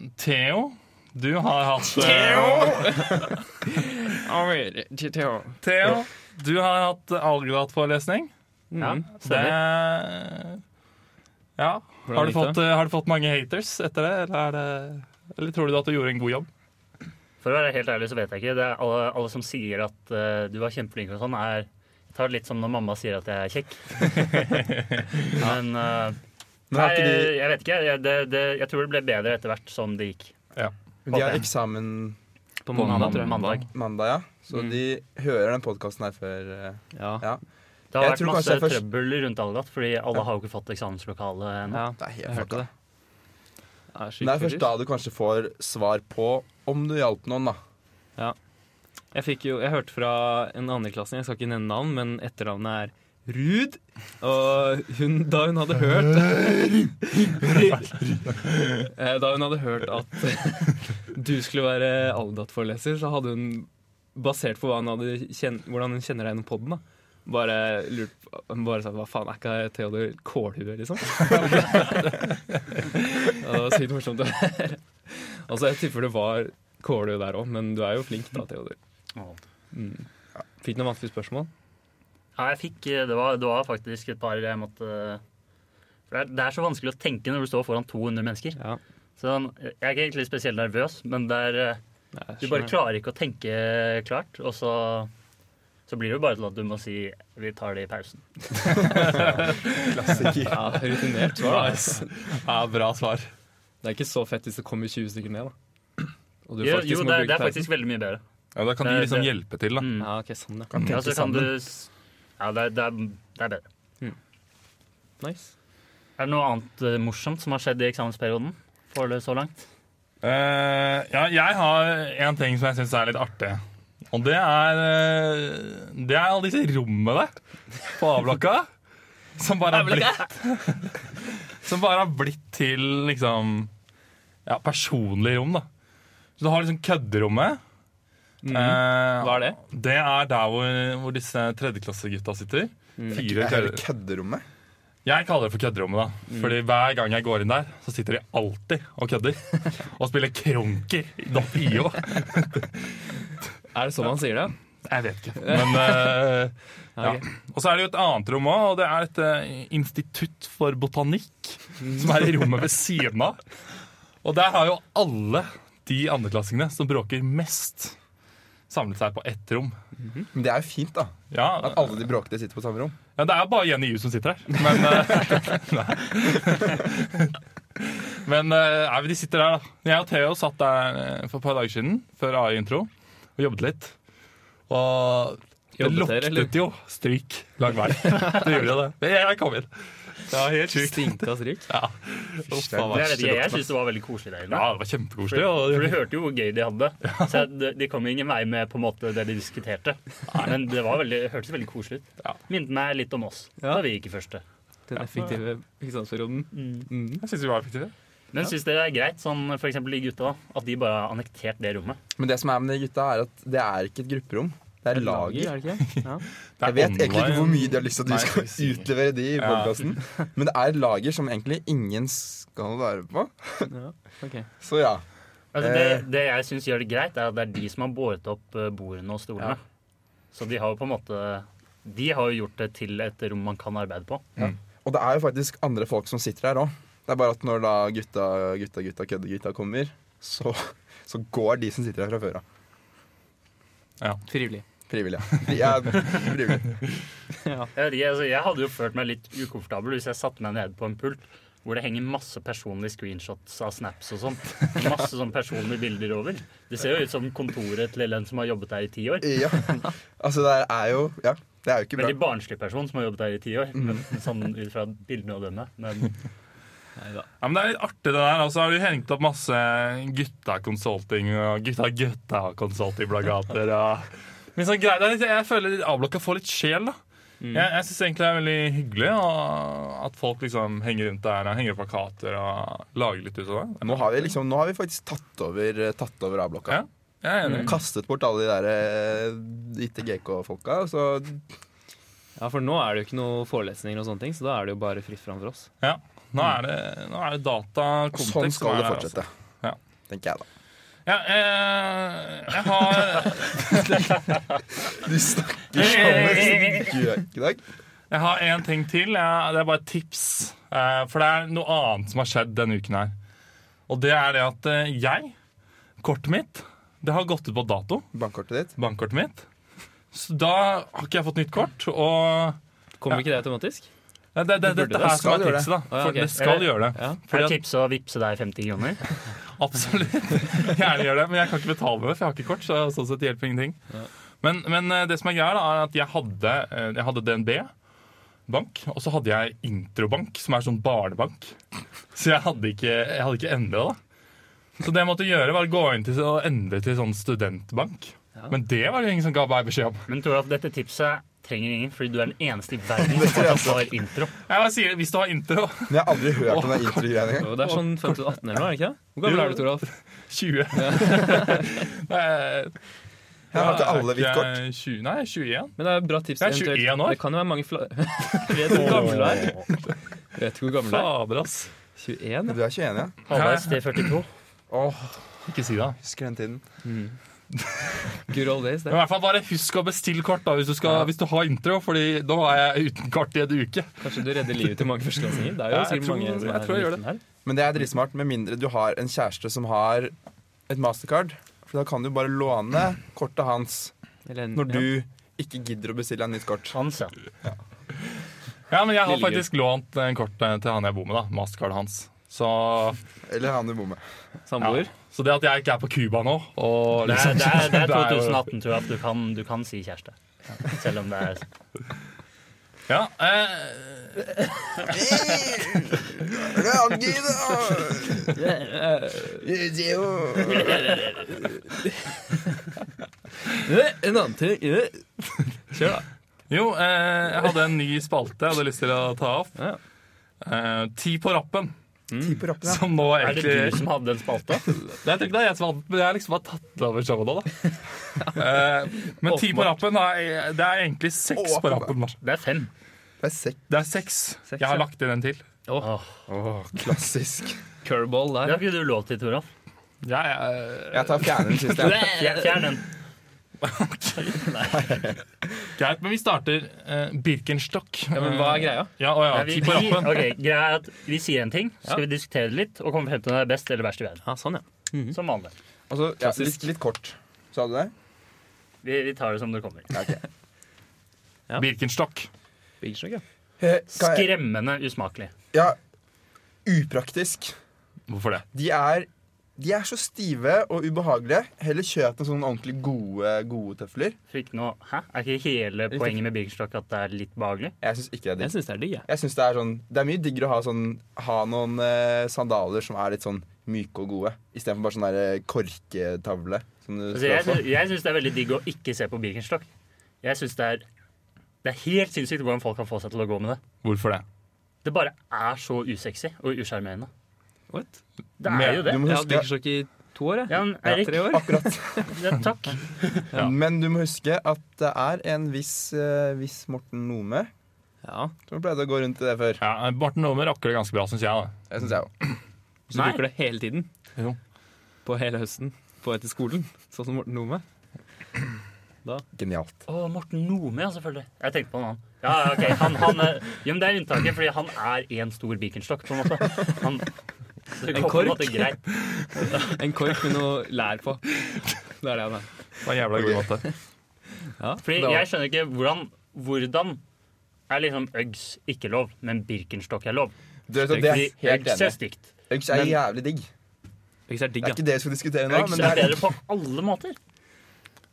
Speaker 1: Eh, Theo, du har hatt eh, Theo, du har hatt algebratforelesning.
Speaker 2: Ja,
Speaker 3: Mm.
Speaker 1: Det
Speaker 2: stemmer.
Speaker 1: Ja.
Speaker 3: Hvordan
Speaker 1: Har du,
Speaker 3: gikk det?
Speaker 1: fått, eh, har du fått mange haters etter det, eller, er det, eller tror du at du gjorde en god jobb?
Speaker 2: For å være helt ærlig, så vet jeg ikke. Det er alle, alle som sier at eh, du var kjempeflink og sånn, er tar det litt som når mamma sier at jeg er
Speaker 4: [laughs]
Speaker 2: kjekk. Men eh, nei,
Speaker 4: Men har ikke
Speaker 2: jeg,
Speaker 4: de,
Speaker 2: jeg vet ikke. Jeg, det, det, jeg tror det ble bedre etter hvert som det gikk.
Speaker 4: de har eksamen
Speaker 3: På mandag, tror jeg.
Speaker 2: Mandag.
Speaker 4: mandag, ja. Så
Speaker 3: Mm.
Speaker 4: de hører den podkasten her før eh,
Speaker 3: Ja.
Speaker 4: Ja.
Speaker 2: Det har
Speaker 4: Jeg
Speaker 2: vært
Speaker 4: tror
Speaker 2: masse
Speaker 4: kanskje jeg først-
Speaker 2: trøbbel rundt Algat, fordi alle har jo ikke fått eksamenslokale ennå.
Speaker 3: ja.
Speaker 4: Det er helt
Speaker 3: Jeg hørte
Speaker 4: fucka.
Speaker 3: det. Det er
Speaker 4: Men Det
Speaker 3: sykt
Speaker 4: er først
Speaker 3: fysisk.
Speaker 4: da du kanskje får svar på om du hjalp noen, da.
Speaker 3: Jeg, fikk jo, jeg hørte fra en andreklassing, jeg skal ikke nevne navn, men etternavnet er Ruud. Og hun, da hun hadde hørt Eh, Da hun hadde hørt at du skulle være Aldat-foreleser, så hadde hun, basert på hva hun hadde kjen, hvordan hun kjenner deg gjennom podden, da, bare lurt på- bare sagt, Hva faen, er ikke Theodor kålhue, liksom? [laughs] Ja, det var sykt morsomt. å høre. altså, jeg tipper det var kålhue der òg, men du er jo flink da, Theodor. Mm. Fikk noen vanskelige spørsmål?
Speaker 2: Ja, jeg fikk, eh, det, var, det var faktisk et par jeg måtte for det er, det er så vanskelig å tenke når du står foran 200 mennesker.
Speaker 3: Ja.
Speaker 2: Så jeg er ikke egentlig spesielt nervøs, men det er, eh, du bare klarer ikke å tenke klart. Og så, så blir det jo bare til at du må si 'vi tar det i pausen'.
Speaker 4: Klassiker.
Speaker 3: Ja, rutinert svar. da.
Speaker 1: Nice. Ja, bra svar.
Speaker 3: Det er ikke så fett hvis det kommer 20 stykker ned, da. Og du
Speaker 2: Jo,
Speaker 3: faktisk
Speaker 2: jo det, er-
Speaker 3: må bruke
Speaker 2: det er
Speaker 3: pausen.
Speaker 2: faktisk veldig mye bedre.
Speaker 1: Ja, da kan de
Speaker 2: Det-
Speaker 1: liksom
Speaker 2: det-
Speaker 1: hjelpe til, da.
Speaker 2: Mm.
Speaker 3: Ja, ok, sånn, ja.
Speaker 4: Kan
Speaker 2: Ja, så
Speaker 4: tenke
Speaker 2: kan du,
Speaker 4: sammen.
Speaker 2: s- ja det, er- det, er, det er bedre.
Speaker 3: Nice.
Speaker 2: Er det noe annet eh, morsomt som har skjedd i eksamensperioden? Foreløpig så langt?
Speaker 1: Eh, ja, jeg har en ting som jeg syns er litt artig. Og det er eh, Det er alle disse rommene på A-blokka som bare har blitt Som bare har blitt til liksom Ja, personlige rom, da. Så du har liksom kødderommet. Eh,
Speaker 3: Hva er det?
Speaker 1: Det er der hvor, hvor disse tredjeklassegutta sitter. Fire
Speaker 4: Hele
Speaker 1: kødder-
Speaker 4: kødderommet.
Speaker 1: jeg kaller det for kødderommet, da. Fordi hver gang jeg går inn der, så sitter de alltid og kødder. Og spiller kronker. Da Pio.
Speaker 3: Er det sånn man sier det?
Speaker 1: Jeg vet ikke. Men, eh, ja.
Speaker 3: ok.
Speaker 1: Og så er det jo et annet rom òg, og det er et eh, institutt for botanikk. Som er i rommet ved siden av. Og der har jo alle de andreklassingene som bråker mest, samlet seg på ett rom.
Speaker 4: Men det er jo fint, da.
Speaker 1: Ja,
Speaker 4: At alle de bråkete sitter på samme rom.
Speaker 1: Ja, det er jo bare Jenny Yu som sitter her. Men, eh, [laughs] nei. men eh, nei, men de sitter der, da. Jeg og Theo satt der eh, for et par dager siden, før AI-intro, og jobbet litt. Og det
Speaker 3: Jobbet dere,
Speaker 1: luktet
Speaker 3: eller?
Speaker 1: jo stryk lang [laughs] vei. Det gjorde jo det. Men jeg, jeg kom inn. Det var helt sjukt.
Speaker 3: Stinka stryk.
Speaker 1: Ja. Uff, det var-
Speaker 2: Jeg, vet ikke, jeg syns det var veldig koselig der inne.
Speaker 1: ja, det var kjempekoselig.
Speaker 2: For, for
Speaker 1: Og
Speaker 2: du hørte jo hvor gøy de hadde. Så de, de kom ingen vei med på en måte det de diskuterte. Men det var veldig, hørtes veldig koselig ut.
Speaker 1: Ja.
Speaker 2: Minnet meg litt om oss
Speaker 3: Ja.
Speaker 2: da vi gikk i første.
Speaker 3: den effektive eksamensperioden. Mm.
Speaker 1: Jeg syns vi var effektive.
Speaker 2: Men syns dere det er greit, sånn for eksempel de gutta, da, at de bare har annektert det rommet?
Speaker 4: Men det som er med de gutta, er at det er ikke et grupperom. Det er lager.
Speaker 3: er det ikke det? Ja.
Speaker 1: Det er
Speaker 4: Jeg vet egentlig
Speaker 1: online.
Speaker 4: ikke hvor mye de har lyst til at
Speaker 1: Nei,
Speaker 4: vi skal
Speaker 1: jeg skal si.
Speaker 4: utlevere de i
Speaker 1: Ja.
Speaker 4: podkasten, men det er et lager som egentlig ingen skal være på.
Speaker 3: Ja. ok.
Speaker 4: Så ja.
Speaker 2: Altså,
Speaker 4: Eh.
Speaker 2: det, det jeg syns gjør det greit, er at det er de som har båret opp eh, bordene og stolene.
Speaker 4: Ja.
Speaker 2: Så de har jo på en måte De har jo gjort det til et rom man kan arbeide på.
Speaker 4: Og det er jo faktisk andre folk som sitter her òg. Det er bare at når da gutta, gutta, gutta, kødde gutta kommer, så, så går de som sitter her fra før av.
Speaker 3: Frivillig.
Speaker 4: Frivillig. ja. De er frivillig.
Speaker 3: [laughs] Ja.
Speaker 2: Jeg, vet ikke, altså, jeg hadde jo følt meg litt ukomfortabel hvis jeg satte meg ned på en pult hvor det henger masse personlige screenshots av snaps og sånt. Masse sånn personlige bilder over. Det ser jo ut som kontoret til en som har jobbet der i ti år.
Speaker 4: Ja. Altså, det er jo Ja, det er jo ikke bra. Mm.
Speaker 2: Veldig barnslig person som har jobbet der i ti år, men sånn ut fra bildene å dømme. Men
Speaker 3: Neida.
Speaker 1: Ja, men Det er litt artig, det der. Og så har du hengt opp masse gutta-consulting og gutta-gutta-consulting-plagater. Og... Men sånn greit, det er litt- Jeg føler A-blokka får litt sjel, da. Jeg, jeg syns egentlig det er veldig hyggelig og at folk liksom henger rundt der og henger opp plakater og lager litt ut av det.
Speaker 4: Nå har vi liksom, nå har vi faktisk tatt over, tatt over A-blokka.
Speaker 1: Ja, jeg er enig.
Speaker 4: Kastet bort alle de der eh, ITGK-folka. og Så
Speaker 3: ja, for nå er det jo ikke noe forelesninger og sånne ting, så da er det jo bare fritt fram for oss.
Speaker 1: Ja. Nå, er det, nå er det data kontekst som
Speaker 4: sånn
Speaker 1: er
Speaker 4: skal det
Speaker 1: her, altså.
Speaker 4: fortsette.
Speaker 1: Ja.
Speaker 4: Tenker jeg, da.
Speaker 1: altså. Ja, eh, jeg har,
Speaker 4: Du
Speaker 1: [laughs]
Speaker 4: snakker sånn i dag.
Speaker 1: jeg har en ting til. Jeg, det er bare et tips. Eh, for det er noe annet som har skjedd denne uken her. Og det er det at eh, jeg, kortet mitt, det har gått ut på dato.
Speaker 4: Bankkortet ditt.
Speaker 1: Bankkortet mitt. Så da har ikke jeg fått nytt kort. Og
Speaker 3: Kommer ikke det automatisk?
Speaker 1: Nei, det, det,
Speaker 3: Du burde
Speaker 1: dette
Speaker 3: det.
Speaker 1: her
Speaker 4: Det
Speaker 1: som
Speaker 4: skal
Speaker 1: er
Speaker 4: gjøre
Speaker 1: tipset, da.
Speaker 3: Å, ja,
Speaker 1: For
Speaker 3: ok.
Speaker 1: det skal gjøre det.
Speaker 3: Ja.
Speaker 1: Fordi
Speaker 2: er
Speaker 1: at-
Speaker 2: tipset å vippse deg 50 kroner?
Speaker 1: Absolutt. Gjerne gjør det, men jeg kan ikke betale med det, for jeg har ikke kort. så sånn sett hjelper ingenting. Men, men eh, det som er greia, da, er at jeg hadde, eh, jeg hadde DNB bank, og så hadde jeg introbank, som er sånn barnebank. Så jeg hadde ikke, jeg hadde ikke endra det. Så det jeg måtte gjøre, var å gå inn til, og endre til sånn studentbank.
Speaker 3: Ja.
Speaker 1: Men det var det ingen som ga meg beskjed om.
Speaker 2: Men tror du at dette tipset trenger ingen, fordi du er den eneste i verden som fortsatt har intro?
Speaker 1: Jeg bare sier, Hvis du har intro [laughs]
Speaker 4: Men jeg har aldri hørt om den introgreia engang.
Speaker 3: Jo, Det er sånn 15-18 eller noe, er det ikke? det? Hvor gammel er du, Toralf?
Speaker 1: 20 Nei,
Speaker 4: Her har ikke
Speaker 1: er
Speaker 4: alle hvitt kort.
Speaker 1: ikke 20, nei, 21.
Speaker 3: Men det er et bra tips.
Speaker 1: Jeg er 21
Speaker 3: eventuelt.
Speaker 1: år.
Speaker 3: Det kan jo være mange fla... [laughs] Vet du hvor gammel du er? Vet du hvor gammel du er?
Speaker 1: Fader, ass.
Speaker 3: 21?
Speaker 4: Du er 21, ja?
Speaker 2: Halvveis til 42.
Speaker 4: Åh,
Speaker 1: Ikke si det.
Speaker 4: husker den tiden.
Speaker 3: Good old days,
Speaker 1: Men
Speaker 3: det.
Speaker 1: i hvert fall bare husk å bestille kort da, hvis du, skal,
Speaker 3: Ja.
Speaker 1: hvis du har intro, Fordi nå er jeg uten kort i en uke.
Speaker 3: Kanskje du redder livet til mange førsteklassinger? Det er
Speaker 1: Ja,
Speaker 3: jo
Speaker 1: jeg
Speaker 3: sikkert
Speaker 1: tror-
Speaker 3: mange som
Speaker 1: jeg
Speaker 3: er
Speaker 1: tror jeg gjør det.
Speaker 3: liten her.
Speaker 4: Men det er dritsmart, med mindre du har en kjæreste som har et mastercard. For da kan du bare låne kortet hans
Speaker 3: Eller en-
Speaker 4: når
Speaker 3: ja.
Speaker 4: du ikke gidder å bestille deg nytt kort.
Speaker 2: Hans, ja.
Speaker 1: Ja, men jeg har
Speaker 3: Lille gutt.
Speaker 1: faktisk lånt eh, kort eh, til han jeg bor med, da. Mastercardet hans. Så,
Speaker 4: Eller han du bor med.
Speaker 3: Samboer?
Speaker 1: så det at jeg ikke er på Cuba nå og
Speaker 2: Det er,
Speaker 1: liksom,
Speaker 2: det er, det
Speaker 1: [laughs]
Speaker 2: er
Speaker 1: det er jo-
Speaker 2: 2018, tror jeg, at du kan, du kan si kjæreste. Selv om det er
Speaker 1: Ja, eh,
Speaker 3: Eh, En annen ting Kjør, da.
Speaker 1: jo, eh, jeg hadde en ny spalte jeg hadde lyst til å ta opp.
Speaker 3: Ja.
Speaker 1: Eh, ti på rappen,
Speaker 4: Ti på rappen, ja.
Speaker 1: som nå
Speaker 2: Er det du
Speaker 1: egentlig
Speaker 2: som hadde den spalta?
Speaker 1: Nei, Jeg tror ikke det er jeg som har men jeg har liksom bare tatt det over showet nå, da.
Speaker 2: [laughs]
Speaker 1: Eh, men ti på rappen, er, det er egentlig seks
Speaker 4: Åpenbart.
Speaker 1: på rappen. Mars.
Speaker 2: Det er fem.
Speaker 4: Det er sekk.
Speaker 1: Det er seks.
Speaker 3: Seks,
Speaker 1: Jeg har
Speaker 3: ja.
Speaker 1: lagt inn en til.
Speaker 2: Åh,
Speaker 4: Åh, klassisk.
Speaker 3: Curveball
Speaker 2: det har
Speaker 3: der.
Speaker 2: ikke du lov til, Toralf.
Speaker 1: Jeg, eh,
Speaker 4: Jeg tar fjerne den siste. jeg.
Speaker 2: Fjer- Fjern den.
Speaker 1: Greit, men vi starter eh, Birkenstock.
Speaker 3: Ja, men hva er greia?
Speaker 1: Ja, å ja,
Speaker 2: Nei, Vi,
Speaker 1: ti på
Speaker 2: vi,
Speaker 1: rappen.
Speaker 2: ok, greia er at vi sier en ting, så skal vi diskutere det litt og komme frem til om det er best eller verst i verden.
Speaker 3: Ja, sånn, ja.
Speaker 2: Som vanlig.
Speaker 4: Og
Speaker 3: Altså,
Speaker 4: så, ja, litt, litt kort. Sa du det?
Speaker 2: Vi, vi tar det som det kommer.
Speaker 4: Ja, ok.
Speaker 3: Ja.
Speaker 1: Birkenstock.
Speaker 3: Big shock, ja.
Speaker 4: Eh, kan jeg-
Speaker 2: Skremmende usmakelig.
Speaker 4: Ja, upraktisk.
Speaker 1: Hvorfor det?
Speaker 4: De er, de er så stive og ubehagelige. Heller kjøp noen sånne ordentlig gode, gode tøfler.
Speaker 2: For ikke noe, hæ? Er ikke hele poenget med Birkenstock at det er litt behagelig?
Speaker 4: Jeg syns ikke det er
Speaker 3: Jeg
Speaker 4: digg.
Speaker 3: syns det er digg, jeg.
Speaker 4: Jeg synes Det er sånn, det er mye diggere å ha, sånn, ha noen eh, sandaler som er litt sånn myke og gode, istedenfor bare sånn der eh, korketavle. Som du
Speaker 2: Altså, jeg
Speaker 4: skal på.
Speaker 2: sy- jeg syns det er veldig digg å ikke se på Birkenstock. Jeg synes det er, det er helt sinnssykt hvordan folk kan få seg til å gå med det.
Speaker 1: Hvorfor det?
Speaker 2: Det bare er så usexy og usjarmerende.
Speaker 3: What?
Speaker 2: Det er jo det.
Speaker 4: Du må
Speaker 3: Jeg har hatt
Speaker 4: huske,
Speaker 3: dykkersjokk i to år, jeg.
Speaker 2: Ja, men Erik,
Speaker 3: Tre år.
Speaker 4: akkurat
Speaker 2: ja, takk.
Speaker 4: Ja. Men du må huske at det er en viss, eh, viss Morten Nome
Speaker 3: [laughs] Ja,
Speaker 4: som pleide å gå rundt i det før.
Speaker 1: Ja, Morten Aamer rakker det ganske bra, syns jeg. da.
Speaker 4: Jeg synes jeg også.
Speaker 3: Så
Speaker 2: Nei.
Speaker 3: bruker det hele tiden.
Speaker 1: Jo.
Speaker 3: På hele høsten. På etter skolen. Sånn som Morten Nome.
Speaker 4: Genialt.
Speaker 2: [laughs] Å, Morten Nome, ja, selvfølgelig. Jeg tenkte på en annen. Ja, ja, ok. Han, han, eh, jo, men det er unntaket, fordi han er én stor Birkenstock, på en måte. Han, så det går
Speaker 3: En
Speaker 2: på en
Speaker 3: kork.
Speaker 2: måte greit.
Speaker 3: En kork med noe lær på. Det er det han er.
Speaker 1: Det var jævla god måte.
Speaker 3: Ja,
Speaker 2: Fordi
Speaker 3: det var-
Speaker 2: jeg skjønner ikke hvordan, hvordan er liksom Uggs ikke lov, men Birkenstock er lov?
Speaker 4: Du vet at det er
Speaker 2: Fordi
Speaker 4: helt
Speaker 2: Uggs er
Speaker 4: enig.
Speaker 2: stygt.
Speaker 4: Uggs er
Speaker 3: Men-
Speaker 4: jævlig digg.
Speaker 3: Ikke så er det
Speaker 4: Det
Speaker 3: digg,
Speaker 4: er
Speaker 3: ja.
Speaker 4: ikke det vi skal diskutere nå.
Speaker 2: Uggs
Speaker 4: Men det
Speaker 2: er
Speaker 4: er,
Speaker 2: bedre på alle måter.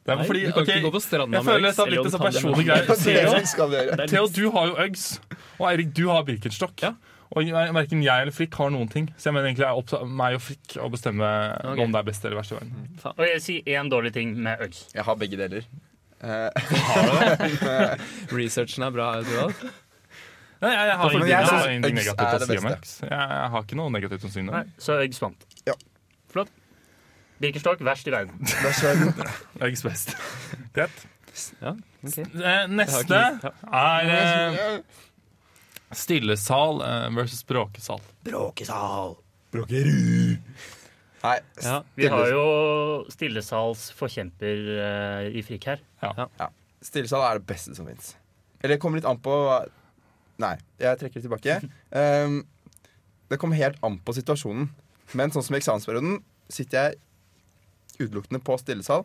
Speaker 1: Det er
Speaker 3: Nei,
Speaker 1: fordi,
Speaker 3: du kan
Speaker 1: ok,
Speaker 3: ikke gå på stranda
Speaker 1: jeg føler
Speaker 3: Uggs,
Speaker 1: det er
Speaker 3: eller
Speaker 1: litt
Speaker 3: om
Speaker 1: sånn
Speaker 3: du tar det med-
Speaker 1: personlige greier.
Speaker 4: det er det
Speaker 1: Theo,
Speaker 4: vi skal gjøre.
Speaker 3: Det er
Speaker 1: Theo,
Speaker 3: litt-
Speaker 1: du har jo Uggs. Og Eirik, du har Birkenstock.
Speaker 3: Ja.
Speaker 1: Og verken jeg eller Frikk har noen ting. Så jeg mener egentlig det er opp til meg og Frikk å bestemme
Speaker 3: Ok. Mm.
Speaker 1: om det er best eller verst i verden.
Speaker 2: Og jeg sier én dårlig ting med Uggs.
Speaker 4: Jeg har begge deler. Eh,
Speaker 3: [laughs] Researchen er bra. Jeg tror alt.
Speaker 1: Nei, jeg, jeg har
Speaker 4: Men
Speaker 1: ingenting,
Speaker 4: jeg
Speaker 1: jeg
Speaker 4: synes
Speaker 1: har ingenting
Speaker 4: Uggs er
Speaker 1: negativt å
Speaker 4: det
Speaker 1: si om
Speaker 4: beste.
Speaker 1: Uggs. Jeg, jeg har ikke noe negativt å si om det.
Speaker 2: Nei, så Uggs vant.
Speaker 4: Ja.
Speaker 2: Flott. Birkenstock verst i verden.
Speaker 4: det er sånn-
Speaker 1: Uggs
Speaker 3: [laughs]
Speaker 1: best. Greit.
Speaker 3: Ja, ok.
Speaker 1: Eh,
Speaker 3: Jeg
Speaker 1: Neste
Speaker 3: har ikke-
Speaker 1: er eh, stillesal eh, versus bråkesal.
Speaker 4: Nei,
Speaker 3: Ja.
Speaker 2: Vi har jo stillesalsforkjemper eh, i Frikk her.
Speaker 4: Stillesal er det beste som fins. Eller det kommer litt an på hva- Nei, jeg trekker det tilbake. Ehm, det kommer helt an på situasjonen. Men sånn som i eksamensperioden sitter jeg utelukkende på stillesal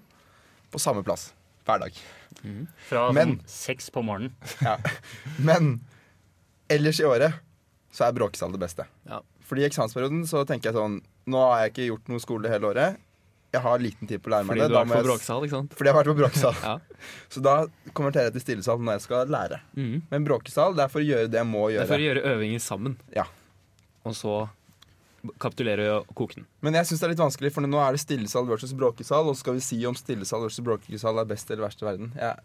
Speaker 4: på samme plass hver dag.
Speaker 2: Fra sånn
Speaker 4: Men-
Speaker 2: seks på morgenen.
Speaker 4: Ja. Men ellers i året så er bråkesal det beste.
Speaker 3: Ja.
Speaker 4: Fordi i eksamensperioden så tenker jeg sånn Nå har jeg ikke gjort noe skole hele året. Jeg har liten tid på å lære meg
Speaker 3: Fordi
Speaker 4: det.
Speaker 3: du
Speaker 4: da
Speaker 3: har
Speaker 4: må
Speaker 3: vært på
Speaker 4: jeg-
Speaker 3: bråksal, ikke sant?
Speaker 4: Fordi jeg har vært på bråkesal.
Speaker 3: [laughs] Ja.
Speaker 4: Så da konverterer jeg til stillesal når jeg skal lære.
Speaker 3: Mhm.
Speaker 4: Men bråkesal det er for å gjøre det jeg må
Speaker 3: Det
Speaker 4: gjøre.
Speaker 3: er for å gjøre øvinger sammen.
Speaker 4: Ja.
Speaker 3: Og så kapitulere og koke den.
Speaker 4: Men jeg syns det er litt vanskelig, for nå er det stillesal versus bråkesal. Og så skal vi si om stillesal versus bråkesal er best eller verst i verden. Ja.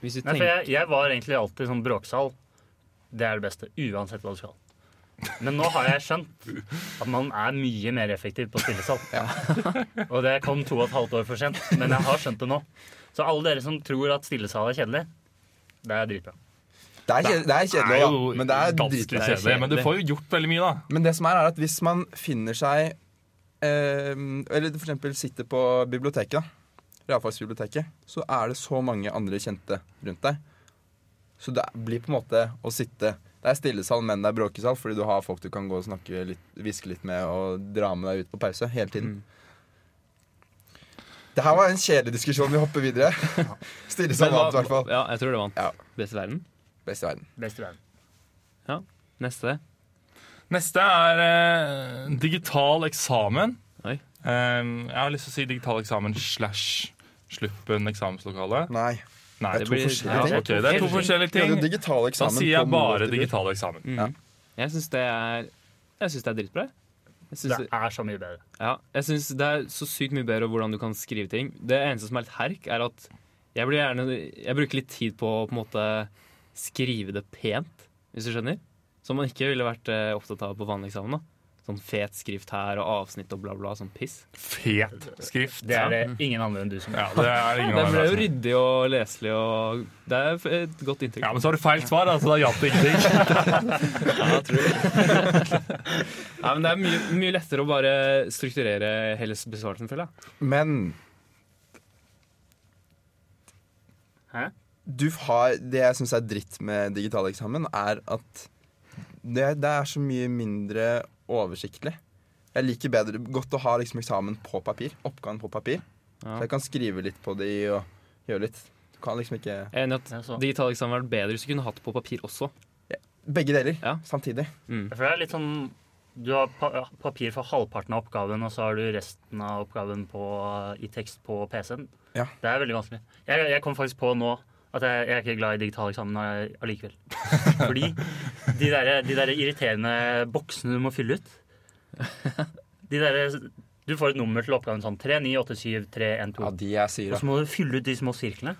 Speaker 3: Hvis du
Speaker 2: Nei, for
Speaker 3: tenker
Speaker 2: jeg, jeg var egentlig alltid sånn bråksal. Det er det beste, uansett hva du skal. Men nå har jeg skjønt at man er mye mer effektiv på stillesal. [laughs] Og det kom to og et halvt år for sent, men jeg har skjønt det nå. Så alle dere som tror at stillesal er kjedelig, det er dritbra.
Speaker 4: Det er, kjed- det er kjedelig, ja. Men det er
Speaker 1: ganske
Speaker 3: Det
Speaker 4: dritbra.
Speaker 3: er
Speaker 1: kjedelig. Men du
Speaker 3: kjedelig.
Speaker 1: får jo gjort veldig mye, da.
Speaker 4: Men det som er, er at hvis man finner seg eh, Eller for eksempel sitter på biblioteket, da, realfagsbiblioteket, så er det så mange andre kjente rundt deg. Så det blir på en måte å sitte Det er stillesal, men det er bråkesal, fordi du har folk du kan gå og snakke litt, hviske litt med og dra med deg ut på pause hele tiden.
Speaker 1: Mm.
Speaker 4: Det her var en kjedelig diskusjon. Vi hopper videre. [laughs] Stillesal
Speaker 3: Men hva-
Speaker 4: vant, i hvert fall.
Speaker 3: Ja, jeg tror det vant.
Speaker 4: Ja.
Speaker 3: Best i verden.
Speaker 4: Best i verden.
Speaker 2: Best i verden.
Speaker 3: Neste.
Speaker 1: Neste er eh, digital eksamen.
Speaker 3: Oi.
Speaker 1: Eh, jeg har lyst til å si digital eksamen slash sluppen eksamenslokale.
Speaker 4: Nei.
Speaker 1: Nei,
Speaker 3: Det
Speaker 1: to
Speaker 3: blir-
Speaker 1: forskjellige
Speaker 4: ja,
Speaker 1: ting. Ok, det er to
Speaker 2: forskjellige
Speaker 1: forskjellige
Speaker 4: Vi hadde
Speaker 1: ting.
Speaker 4: digital
Speaker 1: Da
Speaker 4: eksamen.
Speaker 1: sier
Speaker 4: på
Speaker 1: jeg
Speaker 4: noen
Speaker 1: bare
Speaker 4: måter.
Speaker 1: digital eksamen.
Speaker 3: Mhm.
Speaker 4: Ja.
Speaker 3: Jeg syns det er Jeg syns det er dritbra. jeg. Jeg
Speaker 2: Det
Speaker 3: syns det,
Speaker 2: er så mye bedre.
Speaker 3: ja, jeg synes det er så sykt mye bedre hvordan du kan skrive ting. Det eneste som er litt herk, er at jeg, blir gjerne, jeg bruker litt tid på å på en måte skrive det pent, hvis du skjønner. Som man ikke ville vært eh, opptatt av på vanlig eksamen. da Sånn fet skrift her og avsnitt og bla, bla. Sånn piss.
Speaker 1: Fet skrift.
Speaker 2: Det er det ingen andre enn du som
Speaker 1: Ja, det er ingen
Speaker 3: Det
Speaker 1: av
Speaker 3: ble jo
Speaker 1: dem.
Speaker 3: ryddig og leselig og Det er et godt inntrykk.
Speaker 1: Ja, men så har du feil svar, altså. Da hjalp det ingenting.
Speaker 3: Nei, men det er mye, mye lettere å bare strukturere hele besvarelsen, føler jeg.
Speaker 4: Men
Speaker 2: Hæ?
Speaker 4: du har, det jeg syns er dritt med digital eksamen, er at det, det er så mye mindre oversiktlig. Jeg liker bedre godt å ha liksom eksamen på papir. Oppgaven på papir.
Speaker 3: Ja.
Speaker 4: Så jeg kan skrive litt på det og gjøre litt. Du kan liksom ikke
Speaker 3: Jeg er enig i at
Speaker 2: Ja, så.
Speaker 3: digital eksamen hadde vært bedre hvis du kunne hatt det på papir også.
Speaker 4: Begge deler
Speaker 3: Ja.
Speaker 4: samtidig.
Speaker 2: For det er litt sånn Du har pa ja, papir for halvparten av oppgaven, og så har du resten av oppgaven på, i tekst på PC-en.
Speaker 4: Ja.
Speaker 2: Det er veldig vanskelig. Jeg, jeg kom faktisk på nå at jeg, jeg er ikke glad i digital eksamen når jeg- allikevel. Fordi de der, de der irriterende boksene du må fylle ut De derre Du får et nummer til oppgaven sånn 3, 9, 8, 7, 3, 1, 2.
Speaker 4: de jeg sier,
Speaker 2: Og så må du fylle ut de små sirklene.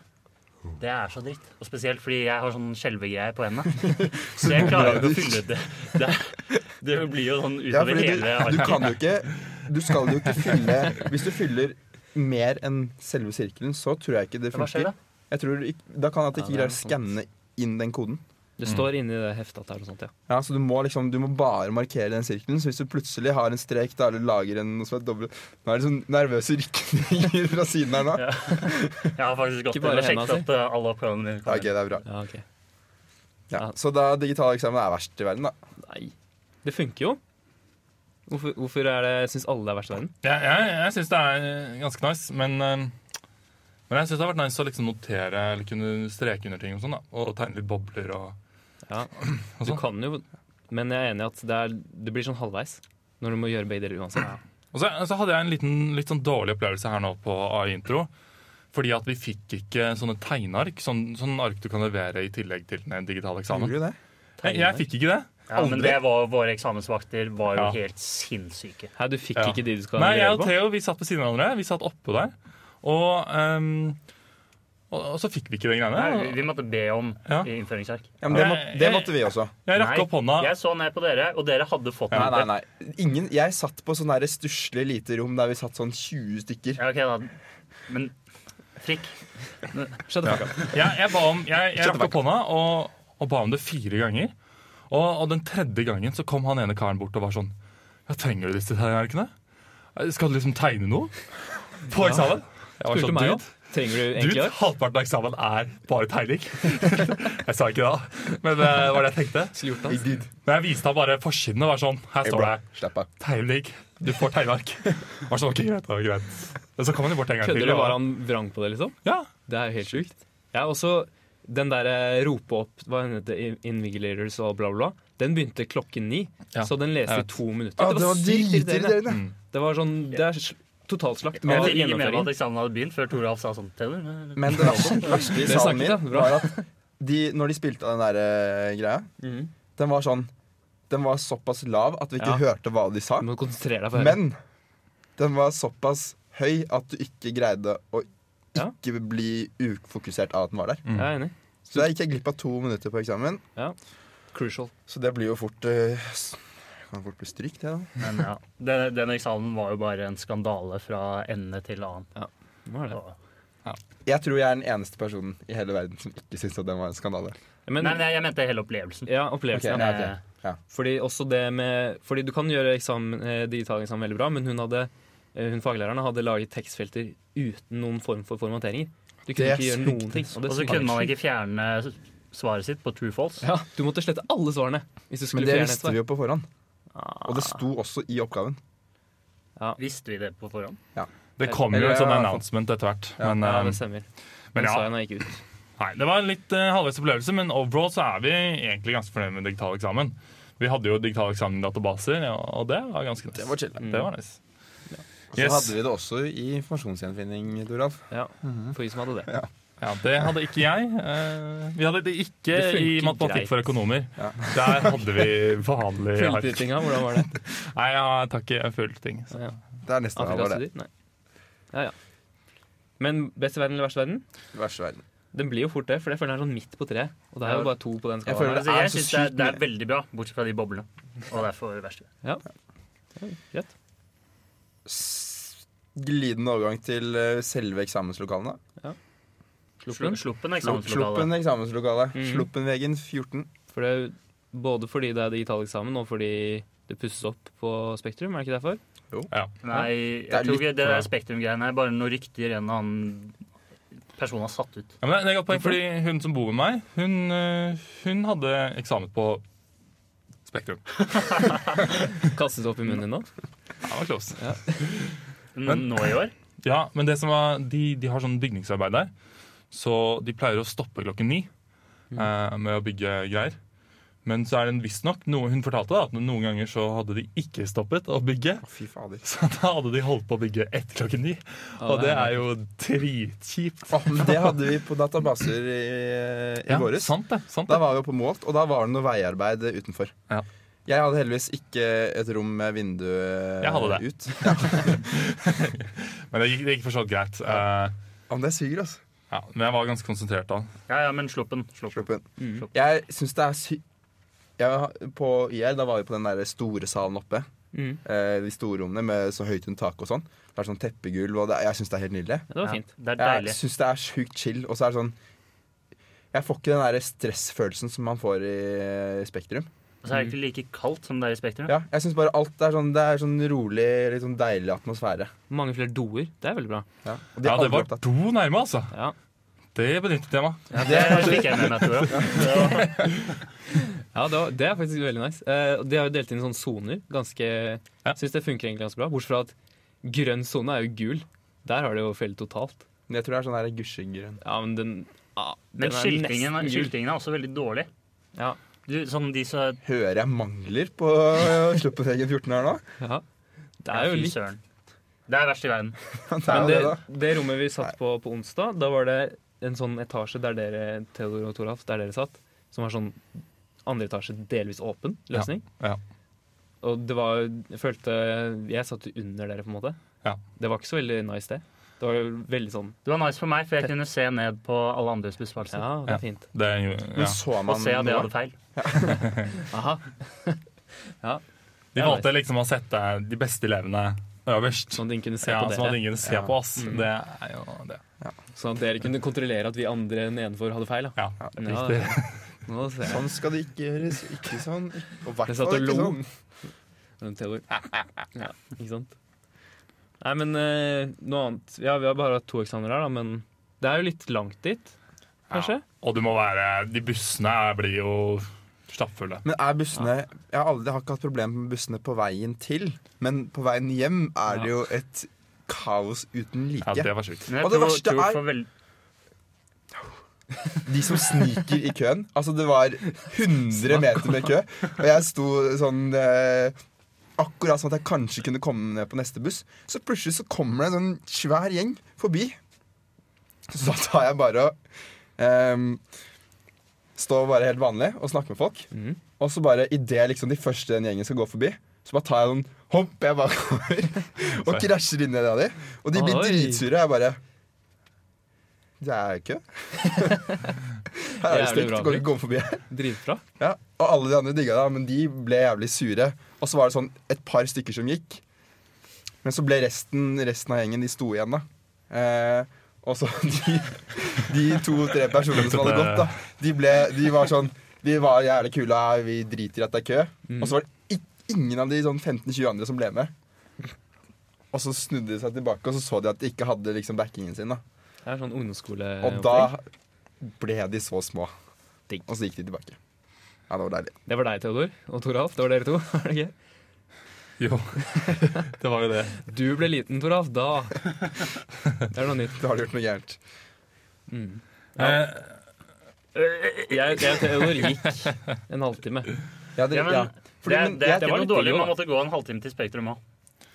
Speaker 2: Det er så dritt. Og spesielt fordi jeg har sånn skjelvegreie på hendene.
Speaker 4: [laughs]
Speaker 2: Så jeg klarer jo ikke å fylle ut det. Det, det blir jo sånn
Speaker 4: Ja,
Speaker 2: utover
Speaker 4: fordi du,
Speaker 2: hele
Speaker 4: du kan jo
Speaker 2: arket.
Speaker 4: ikke Du skal jo ikke fylle Hvis du fyller mer enn selve sirkelen, så tror jeg ikke det
Speaker 2: Hva skjer
Speaker 4: funker.
Speaker 2: da?
Speaker 4: Jeg tror ikke, da kan jeg at jeg
Speaker 3: Ja,
Speaker 4: ikke
Speaker 3: det er
Speaker 4: greier å
Speaker 3: sant.
Speaker 4: skanne inn den koden.
Speaker 1: Mm.
Speaker 3: Det står inni det heftet at det er noe sånt, ja.
Speaker 4: Ja, så du må, liksom, du må bare markere den sirkelen. Så hvis du plutselig har en strek da, eller lager en noe som er dobbelt Nå er det sånn nervøse rykninger [laughs] fra siden her nå.
Speaker 2: Ja. Jeg har faktisk gått inn
Speaker 3: Ikke bare
Speaker 2: og sjekket
Speaker 3: hendene,
Speaker 2: at uh, alle oppgavene mine
Speaker 4: Ja,
Speaker 2: kommer.
Speaker 4: ok, det er bra.
Speaker 3: ja ok.
Speaker 4: Ja. Så da digital eksamen er verst i verden, da.
Speaker 3: Nei. Det funker jo. Hvorfor, hvorfor er det, syns alle det er verst i verden?
Speaker 1: Jeg, jeg, jeg syns det er eh, ganske nice, men, eh, men jeg syns det har vært nice å liksom notere eller kunne streke under ting og sånn. da, Og tegne litt bobler og, [clears throat]
Speaker 3: Ja,
Speaker 1: og
Speaker 3: du
Speaker 1: sånn.
Speaker 3: kan jo, men jeg er enig i at det, er, det blir sånn halvveis når du må gjøre begge deler uansett.
Speaker 1: Og så, så hadde jeg en liten, litt sånn dårlig opplevelse her nå på AI-intro. Fordi at vi fikk ikke sånne tegneark. Sånn, sånn ark du kan levere i tillegg til en digital eksamen.
Speaker 4: Gjorde du det?
Speaker 1: Jeg, jeg fikk ikke det.
Speaker 2: Ja, men
Speaker 4: Aldri.
Speaker 2: det var, våre eksamensvakter var jo
Speaker 1: Ja.
Speaker 2: helt sinnssyke.
Speaker 3: Hæ, du fikk
Speaker 1: Ja.
Speaker 3: ikke de du skal
Speaker 1: Nei, jeg
Speaker 3: levere
Speaker 1: og
Speaker 3: på?
Speaker 1: Theo vi satt på siden av hverandre. Vi satt oppå der. Og, ehm, og, og så fikk vi ikke de
Speaker 2: Nei,
Speaker 1: greiene.
Speaker 2: vi- vi måtte be om
Speaker 1: Ja.
Speaker 2: innføringsark.
Speaker 4: Ja, men det,
Speaker 1: Nei,
Speaker 4: må, det måtte vi også.
Speaker 1: Jeg rakk
Speaker 2: Nei,
Speaker 1: opp hånda.
Speaker 2: Jeg så ned på dere, og dere hadde fått
Speaker 4: Nei,
Speaker 2: noe.
Speaker 4: nei, nei. Ingen, jeg satt på sånn der stusslig lite rom der vi satt sånn 20 stykker.
Speaker 2: Ja, ok da. Men frikk.
Speaker 3: Shut the fuck up.
Speaker 1: Jeg, jeg, ba om, jeg, jeg rakk opp hånda og, og ba om det fire ganger. Og, og den tredje gangen så kom han ene karen bort og var sånn ja, Trenger du disse tegnearkene? Skal du liksom tegne noe? På eksamen? Jeg var
Speaker 3: Spurte
Speaker 1: sånn,
Speaker 3: meg
Speaker 1: dude,
Speaker 3: om. Trenger du egentlig
Speaker 1: dude,
Speaker 3: ark?
Speaker 1: halvparten av eksamen er bare tegning. [laughs] jeg sa ikke da, men eh, det var det jeg tenkte.
Speaker 3: Skulle gjort det.
Speaker 4: Big dude.
Speaker 1: Men jeg viste ham bare forsiden og var sånn Her
Speaker 4: Hey,
Speaker 1: står
Speaker 4: bro.
Speaker 1: det
Speaker 4: Slapp av.
Speaker 1: tegning. Du får
Speaker 3: [laughs]
Speaker 1: tegneark. Jeg Var sånn, ok, greit, da, greit. Men så kom han jo bort en gang
Speaker 3: Kødder
Speaker 1: til.
Speaker 3: du?
Speaker 1: og-
Speaker 3: Var han vrang på det, liksom?
Speaker 1: Ja,
Speaker 3: Det er jo helt sjukt. Ja, også den derre rope opp Hva heter det? Invigilators og bla, bla, bla. Den begynte klokken ni,
Speaker 1: Ja, Ah,
Speaker 3: så den leste
Speaker 1: jeg
Speaker 3: i to minutter.
Speaker 4: Ja, det var
Speaker 3: sykt irriterende.
Speaker 4: dritirriterende.
Speaker 3: Det var sånn Det er sl- totalslakt
Speaker 2: Men
Speaker 3: av
Speaker 2: jeg fikk ikke med meg at
Speaker 3: gjennomføringen.
Speaker 2: eksamen hadde begynt før Toralf sa sånn. Taylor, men-
Speaker 4: Men
Speaker 3: [laughs]
Speaker 4: det verste, verste i
Speaker 3: sånn. Det snakket,
Speaker 4: salen min
Speaker 3: ja. Bra.
Speaker 4: var at de, når de spilte av den der eh, greia,
Speaker 3: Mhm.
Speaker 4: den var sånn Den var såpass lav at vi ikke
Speaker 3: Ja.
Speaker 4: hørte hva de sa.
Speaker 3: Du må konsentrere deg for å høre.
Speaker 4: Men den var såpass høy at du ikke greide å
Speaker 3: Ja. Mm.
Speaker 4: ikke bli ufokusert av at den var der.
Speaker 3: Jeg er enig.
Speaker 4: Så der gikk jeg glipp av to minutter på eksamen.
Speaker 3: Crucial.
Speaker 4: Så det blir jo fort eh, s- Kan fort bli stryk, det, da.
Speaker 2: Men ja, den, den eksamen var jo bare en skandale fra ende til annen.
Speaker 3: Hva er det?
Speaker 2: Og-
Speaker 4: Jeg tror jeg er den eneste personen i hele verden som ikke syns at den var en skandale.
Speaker 3: Men,
Speaker 2: Nei, men jeg, jeg mente hele opplevelsen.
Speaker 3: ja, opplevelsen.
Speaker 4: Ok,
Speaker 3: ja.
Speaker 4: nei.
Speaker 2: Eh,
Speaker 3: Fordi, også det med, fordi du kan gjøre eksamen, eh, digital eksamen veldig bra, men hun, hadde, eh, hun faglæreren hadde laget tekstfelter uten noen form for formateringer. Du kunne
Speaker 4: Det
Speaker 3: ikke gjøre
Speaker 4: sugde.
Speaker 3: noen ting. Og det
Speaker 2: Og så
Speaker 3: sugde.
Speaker 2: kunne man ikke fjerne s- svaret sitt på true false.
Speaker 3: Ja, du måtte slette alle svarene. Hvis du
Speaker 4: Men
Speaker 3: skulle
Speaker 4: det
Speaker 3: fjerne et
Speaker 4: visste
Speaker 3: svar.
Speaker 4: vi jo på forhånd.
Speaker 3: Ah,
Speaker 4: Og det sto også i oppgaven.
Speaker 2: Visste vi det på forhånd?
Speaker 1: det kom jo
Speaker 4: Eller-
Speaker 1: en sånn announcement etter hvert. Men,
Speaker 3: ja,
Speaker 1: eh,
Speaker 3: det
Speaker 1: men
Speaker 3: stemmer. Men
Speaker 1: ja,
Speaker 3: sa jeg når jeg gikk ut.
Speaker 1: Nei, Det var en litt uh, halvveis opplevelse, men overall så er vi egentlig ganske fornøyd med digital eksamen. Vi hadde jo digital eksamen i databaser, ja, og det var ganske nice.
Speaker 4: Det var chill.
Speaker 3: Mm,
Speaker 1: Det var nice.
Speaker 4: Og så
Speaker 1: Yes.
Speaker 4: hadde vi det også i informasjonsgjenfinning, Toralf.
Speaker 3: Ja,
Speaker 4: Mhm.
Speaker 3: For vi som hadde det.
Speaker 1: Ja, Det hadde ikke jeg. Eh, vi hadde det ikke
Speaker 3: Det funker
Speaker 1: i matematikk for
Speaker 3: greit.
Speaker 1: økonomer.
Speaker 4: Ja.
Speaker 1: Der hadde vi
Speaker 4: [laughs]
Speaker 1: vanlig ark.
Speaker 3: Fullprytinga, hvordan var det?
Speaker 1: Nei, ja, takk, jeg følte ting.
Speaker 3: Så, ja.
Speaker 4: Det er nesten hva var det.
Speaker 3: Afrikastudier? Nei. Ja, ja. Men best i verden eller verst i verden?
Speaker 4: Verste verden.
Speaker 3: Den blir jo fort det, for jeg føler den er sånn midt på treet. Og det er
Speaker 4: Ja.
Speaker 3: jo bare to på den
Speaker 4: Jeg
Speaker 3: skalaen. her.
Speaker 4: føler- det
Speaker 2: Altså,
Speaker 4: er
Speaker 2: jeg
Speaker 4: så
Speaker 2: syns det, er-
Speaker 4: sykt
Speaker 2: det er
Speaker 4: mye.
Speaker 2: veldig bra, bortsett fra de boblene. Og derfor det verste.
Speaker 3: Greit.
Speaker 4: S- Glidende overgang til eh, selve eksamenslokalene.
Speaker 3: Sluppen.
Speaker 2: Sluppen, sluppen
Speaker 4: Slupp-
Speaker 2: eksamenslokalet.
Speaker 4: Sluppen eksamenslokale.
Speaker 3: Mhm.
Speaker 4: Sluppenvegen 14.
Speaker 3: For det, er jo- både fordi det er digital eksamen, og fordi det pusses opp på Spektrum. er det ikke derfor?
Speaker 2: Nei,
Speaker 4: Det er
Speaker 2: jeg tror ikke
Speaker 4: litt
Speaker 2: det
Speaker 4: for-
Speaker 2: der Spektrum-greiene er bare noe rykter en eller annen person har satt ut.
Speaker 1: Ja, men det er et godt poeng, fordi Hun som bor med meg, hun, eh, hun hadde eksamen på Spektrum.
Speaker 3: Kastes opp i munnen din nå.
Speaker 1: Ja, det var close.
Speaker 2: Men nå i år?
Speaker 1: Ja, men det som var, de, de har sånn bygningsarbeid der, så de pleier å stoppe klokken ni eh, med å bygge greier. Men så er det visstnok noe hun fortalte, da, at noen ganger så hadde de ikke stoppet å bygge. [laughs]
Speaker 4: Å, fy fader.
Speaker 1: Så da hadde de holdt på å bygge etter klokken ni, og det er jo dritkjipt.
Speaker 4: Å, men det hadde vi på databaser i, i
Speaker 1: Ja,
Speaker 4: våres.
Speaker 1: sant det. sant
Speaker 4: Da
Speaker 1: det.
Speaker 4: var vi jo på Målt, og da var det noe veiarbeid utenfor.
Speaker 1: Ja.
Speaker 4: Jeg hadde heldigvis ikke et rom med vindu eh,
Speaker 1: Jeg hadde det.
Speaker 4: ut.
Speaker 1: Men det gikk, det gikk for så vidt greit. Eh,
Speaker 4: Om det suger, altså.
Speaker 1: Ja, men jeg var ganske konsentrert da.
Speaker 2: Ja, ja, men sluppen. sluppen.
Speaker 4: Slupp inn.
Speaker 2: Mm.
Speaker 4: Jeg syns det er sy... Jeg, har- på IR da var vi på den der store salen oppe.
Speaker 3: Mm.
Speaker 4: Eh, de store rommene med så høyt under taket og sånn. Det er sånn teppegulv, og det, jeg syns det er helt nydelig.
Speaker 3: Ja, det var
Speaker 2: Ja,
Speaker 3: fint.
Speaker 2: det er
Speaker 4: Jeg
Speaker 2: deilig.
Speaker 4: syns det er sjukt chill. Og så er det sånn Jeg får ikke den der stressfølelsen som man får i eh, Spektrum.
Speaker 2: Og så er det ikke like kaldt som det er i Spektrum.
Speaker 4: Ja, jeg syns bare alt er sånn Det er sånn rolig, litt sånn deilig atmosfære.
Speaker 3: Mange flere doer. Det er veldig bra.
Speaker 4: Ja, og de
Speaker 1: Ja,
Speaker 4: er
Speaker 1: det
Speaker 4: aldri
Speaker 1: var
Speaker 4: opptatt.
Speaker 1: do nærme, altså.
Speaker 3: Ja.
Speaker 1: Det benyttet jeg meg.
Speaker 2: Ja, det fikk jeg med meg, tror jeg.
Speaker 3: Ja, det, var, det er faktisk veldig nice. Eh, og de har jo delt inn i sånne soner. Ganske
Speaker 1: Ja.
Speaker 3: Syns det funker egentlig ganske bra. Bortsett fra at grønn sone er jo gul. Der har det jo felt totalt.
Speaker 4: Men jeg tror det er sånn der gusjegrønn.
Speaker 3: Ja, men den ja,
Speaker 2: Men
Speaker 3: den er
Speaker 2: skiltingen,
Speaker 3: nesten gul.
Speaker 2: skiltingen er også veldig dårlig.
Speaker 3: Ja.
Speaker 2: Du, sånn de som
Speaker 4: Hører jeg mangler på Sluppetegen 14 her nå? [laughs]
Speaker 3: ja. Det
Speaker 2: Ja,
Speaker 3: er jo
Speaker 2: fy
Speaker 3: litt
Speaker 2: søren. Det er verst i verden.
Speaker 4: Det er
Speaker 3: Men
Speaker 4: jo
Speaker 3: det,
Speaker 4: det, da.
Speaker 3: det rommet vi satt på på onsdag, da var det en sånn etasje der dere, Theodor og Toralf, der dere satt, som var sånn andre etasje delvis åpen løsning.
Speaker 1: Ja, ja.
Speaker 3: Og det var Jeg følte Jeg satt jo under dere, på en måte.
Speaker 1: Ja.
Speaker 3: Det var ikke så veldig nice, det. Det var jo veldig sånn
Speaker 2: Det var nice for meg, for jeg kunne se ned på alle andres besvarelser.
Speaker 3: Ja, det
Speaker 1: Ja.
Speaker 3: er fint.
Speaker 1: Det er jo,
Speaker 4: Men
Speaker 1: ja.
Speaker 4: så
Speaker 2: Og
Speaker 4: man
Speaker 2: se at jeg
Speaker 4: noe?
Speaker 2: hadde feil.
Speaker 3: Aha.
Speaker 1: De valgte liksom å sette de beste elevene øverst.
Speaker 3: Sånn at ingen kunne se
Speaker 1: Ja, Mm.
Speaker 3: på
Speaker 1: som at
Speaker 3: dere.
Speaker 1: ingen ser
Speaker 4: Ja.
Speaker 1: på oss. Det er jo det.
Speaker 3: Sånn at dere kunne kontrollere at vi andre nedenfor hadde feil. Da.
Speaker 1: Ja,
Speaker 3: Ja,
Speaker 1: riktig.
Speaker 3: Nå ser jeg.
Speaker 4: Sånn skal det ikke gjøres. Ikke sånn. ikke- Og i
Speaker 3: Jeg
Speaker 4: hvert
Speaker 3: satt
Speaker 4: fall
Speaker 3: og
Speaker 4: ikke
Speaker 3: lo.
Speaker 4: sånn.
Speaker 3: Men Theodor [laughs] ja, Ikke sant? Nei, men eh, noe annet Ja, vi har bare hatt to eksamener her, da, men det er jo litt langt dit, kanskje?
Speaker 1: Og du må være De bussene blir jo stappfulle.
Speaker 4: Men er bussene Jeg har aldri jeg har ikke hatt problemer med bussene på veien til, men på veien hjem er det jo et kaos uten
Speaker 1: Ja,
Speaker 4: like.
Speaker 1: det var sjukt.
Speaker 2: Men jeg
Speaker 4: Og det
Speaker 2: tror,
Speaker 4: verste
Speaker 2: tror
Speaker 4: er-
Speaker 2: for veld...
Speaker 4: De som sniker i køen. Altså, det var 100 meter med kø, og jeg sto sånn eh, Akkurat sånn at jeg kanskje kunne komme ned på neste buss. Så plutselig så kommer det en sånn svær gjeng forbi. Så da tar jeg bare og ehm, står bare helt vanlig og snakker med folk.
Speaker 3: Mhm.
Speaker 4: Og så bare idet liksom, de første den gjengen skal gå forbi, så bare tar jeg noen hopp jeg bare [laughs] kommer og krasjer inn i det av de. Og de blir
Speaker 3: Oi.
Speaker 4: dritsure. og Jeg bare Det
Speaker 3: [laughs]
Speaker 4: er ikke Her er det
Speaker 3: Jævlig
Speaker 4: stengt.
Speaker 3: bra
Speaker 4: Det går ikke å komme forbi her.
Speaker 3: Dritbra.
Speaker 4: Ja. Og alle de andre digga det, men de ble jævlig sure. Og så var det sånn et par stykker som gikk. Men så ble resten, resten av gjengen De sto igjen, da. Eh, og så [laughs] de, de to-tre personene som hadde gått, da, de, ble, de var sånn Vi var jævlig kule, ja, vi driter i at det er kø.
Speaker 3: Mm.
Speaker 4: Og så var det ik- ingen av de sånn 15-20 andre som ble med. Og så snudde de seg tilbake, og så så de at de ikke hadde liksom backingen sin. da
Speaker 3: Det er sånn ungdomsskole...
Speaker 4: Og da ble de så små.
Speaker 3: Digg.
Speaker 4: Og så gikk de tilbake. Ja, det var deilig. [laughs]
Speaker 3: Det var deg, Theodor, og Toralf. Det var dere to. [laughs] var det ikke?
Speaker 1: Jo, [laughs] det var jo det.
Speaker 3: Du ble liten, Toralf. Da Det er noe nytt.
Speaker 4: Da har du gjort noe gærent.
Speaker 3: Mm.
Speaker 1: Eh,
Speaker 2: Øh,
Speaker 3: Jeg, jeg
Speaker 2: [laughs]
Speaker 3: og Theodor gikk en halvtime.
Speaker 4: Ja, det,
Speaker 2: Ja, men
Speaker 4: ja. Fordi,
Speaker 2: det, er-
Speaker 4: men,
Speaker 2: det, er
Speaker 4: jeg,
Speaker 3: det
Speaker 2: ikke
Speaker 3: var
Speaker 2: noe
Speaker 3: litt digg
Speaker 2: dårlig. Man
Speaker 3: også.
Speaker 2: måtte gå en halvtime til Spektrum òg.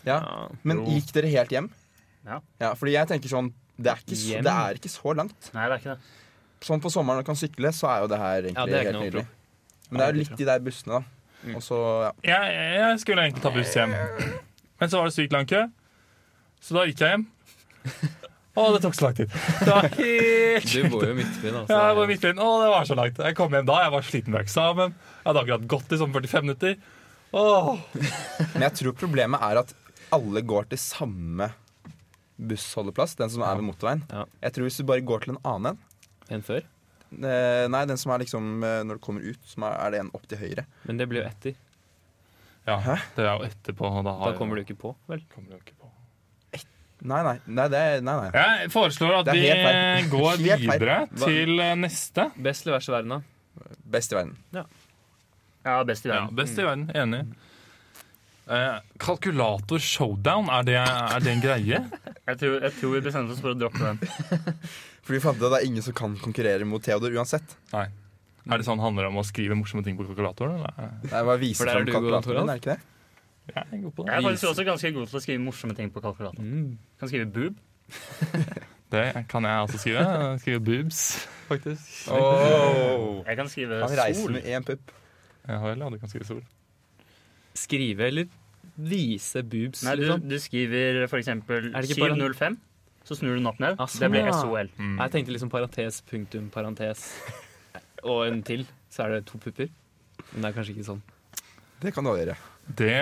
Speaker 4: ja.
Speaker 3: Ja.
Speaker 4: men
Speaker 2: Jo.
Speaker 4: gikk dere helt hjem?
Speaker 2: Ja.
Speaker 4: fordi jeg tenker sånn det er, ikke så,
Speaker 3: Hjem?
Speaker 4: det er ikke så langt.
Speaker 2: Nei, det er ikke det.
Speaker 4: Sånn på sommeren når man kan sykle, så er jo det her
Speaker 3: Ja,
Speaker 4: egentlig
Speaker 3: det er ikke
Speaker 4: helt
Speaker 3: noe
Speaker 4: nydelig.
Speaker 3: problem.
Speaker 4: Men det
Speaker 3: Ja,
Speaker 4: er jo
Speaker 3: det er
Speaker 4: litt de der bussene, da.
Speaker 3: Mm.
Speaker 4: Og så, ja.
Speaker 1: jeg, jeg skulle egentlig ta buss hjem, men så var det sykt lang kø, så da gikk jeg hjem. Å, det tok så lang tid. Det var helt
Speaker 3: Du bor jo midt i byen,
Speaker 1: Ja, jeg var
Speaker 3: altså.
Speaker 1: midt i byen. Å, det var så langt. Jeg kom hjem da, jeg var sliten fra eksamen. Jeg hadde akkurat gått i sånn 45 minutter. Åh.
Speaker 4: Men jeg tror problemet er at alle går til samme bussholdeplass, den som er ved motorveien.
Speaker 3: Ja.
Speaker 4: Jeg tror hvis du bare går til en annen en
Speaker 3: Enn før.
Speaker 4: eh, Nei, den som er liksom eh, når du kommer ut, som er, er det en opp til høyre.
Speaker 3: Men det blir jo etter.
Speaker 1: Ja, det er jo etterpå. og Da, har
Speaker 3: Da kommer du ikke på, vel?
Speaker 1: jeg, kommer du ikke på.
Speaker 4: Nei, nei. nei, det, er- nei, nei.
Speaker 1: Jeg foreslår at
Speaker 4: Det er
Speaker 1: vi
Speaker 4: helt feil.
Speaker 1: [laughs] går
Speaker 4: Helt feil.
Speaker 1: videre
Speaker 3: Hva-
Speaker 1: til eh, neste.
Speaker 3: Best eller verst i verden, da?
Speaker 4: Best i verden.
Speaker 2: Ja, best i
Speaker 1: Ja,
Speaker 2: verden.
Speaker 1: best i verden. Enig. Eh, kalkulator showdown, er det, er det en greie?
Speaker 2: Jeg, tror, jeg tror vi bestemte oss for å droppe den.
Speaker 4: For vi fant ut at det er ingen som kan konkurrere mot Theodor uansett.
Speaker 1: Nei. Er det sånn handler det om å skrive morsomme ting på kalkulatoren? Eller?
Speaker 4: Det er bare å vise
Speaker 3: For der er
Speaker 4: frem
Speaker 3: du god,
Speaker 4: kalkulatoren
Speaker 3: Toralf. [laughs]
Speaker 4: din, er det ikke det?
Speaker 1: Jeg er god på
Speaker 2: Jeg
Speaker 1: det.
Speaker 2: er faktisk også ganske god til å skrive morsomme ting på kalkulatoren.
Speaker 3: Mm.
Speaker 2: Kan skrive boob.
Speaker 1: Det kan jeg også skrive. Skrive boobs, faktisk.
Speaker 4: Oh.
Speaker 2: Jeg kan skrive
Speaker 4: Han reiser
Speaker 2: sol.
Speaker 4: med én pupp.
Speaker 1: Ja vel, ja, du kan skrive sol.
Speaker 3: Skrive eller vise boobs,
Speaker 2: Nei, du,
Speaker 3: liksom?
Speaker 2: du skriver for eksempel
Speaker 3: Er det ikke bare-
Speaker 2: 705. så snur du den opp ned.
Speaker 3: Ah, sånn,
Speaker 2: det blir
Speaker 3: ja.
Speaker 2: SOL.
Speaker 1: Mm.
Speaker 3: Jeg tenkte liksom parentes, punktum, parentes [laughs] og en til. Så er det to pupper. Men det er kanskje ikke sånn.
Speaker 4: Det kan du også gjøre.
Speaker 1: Det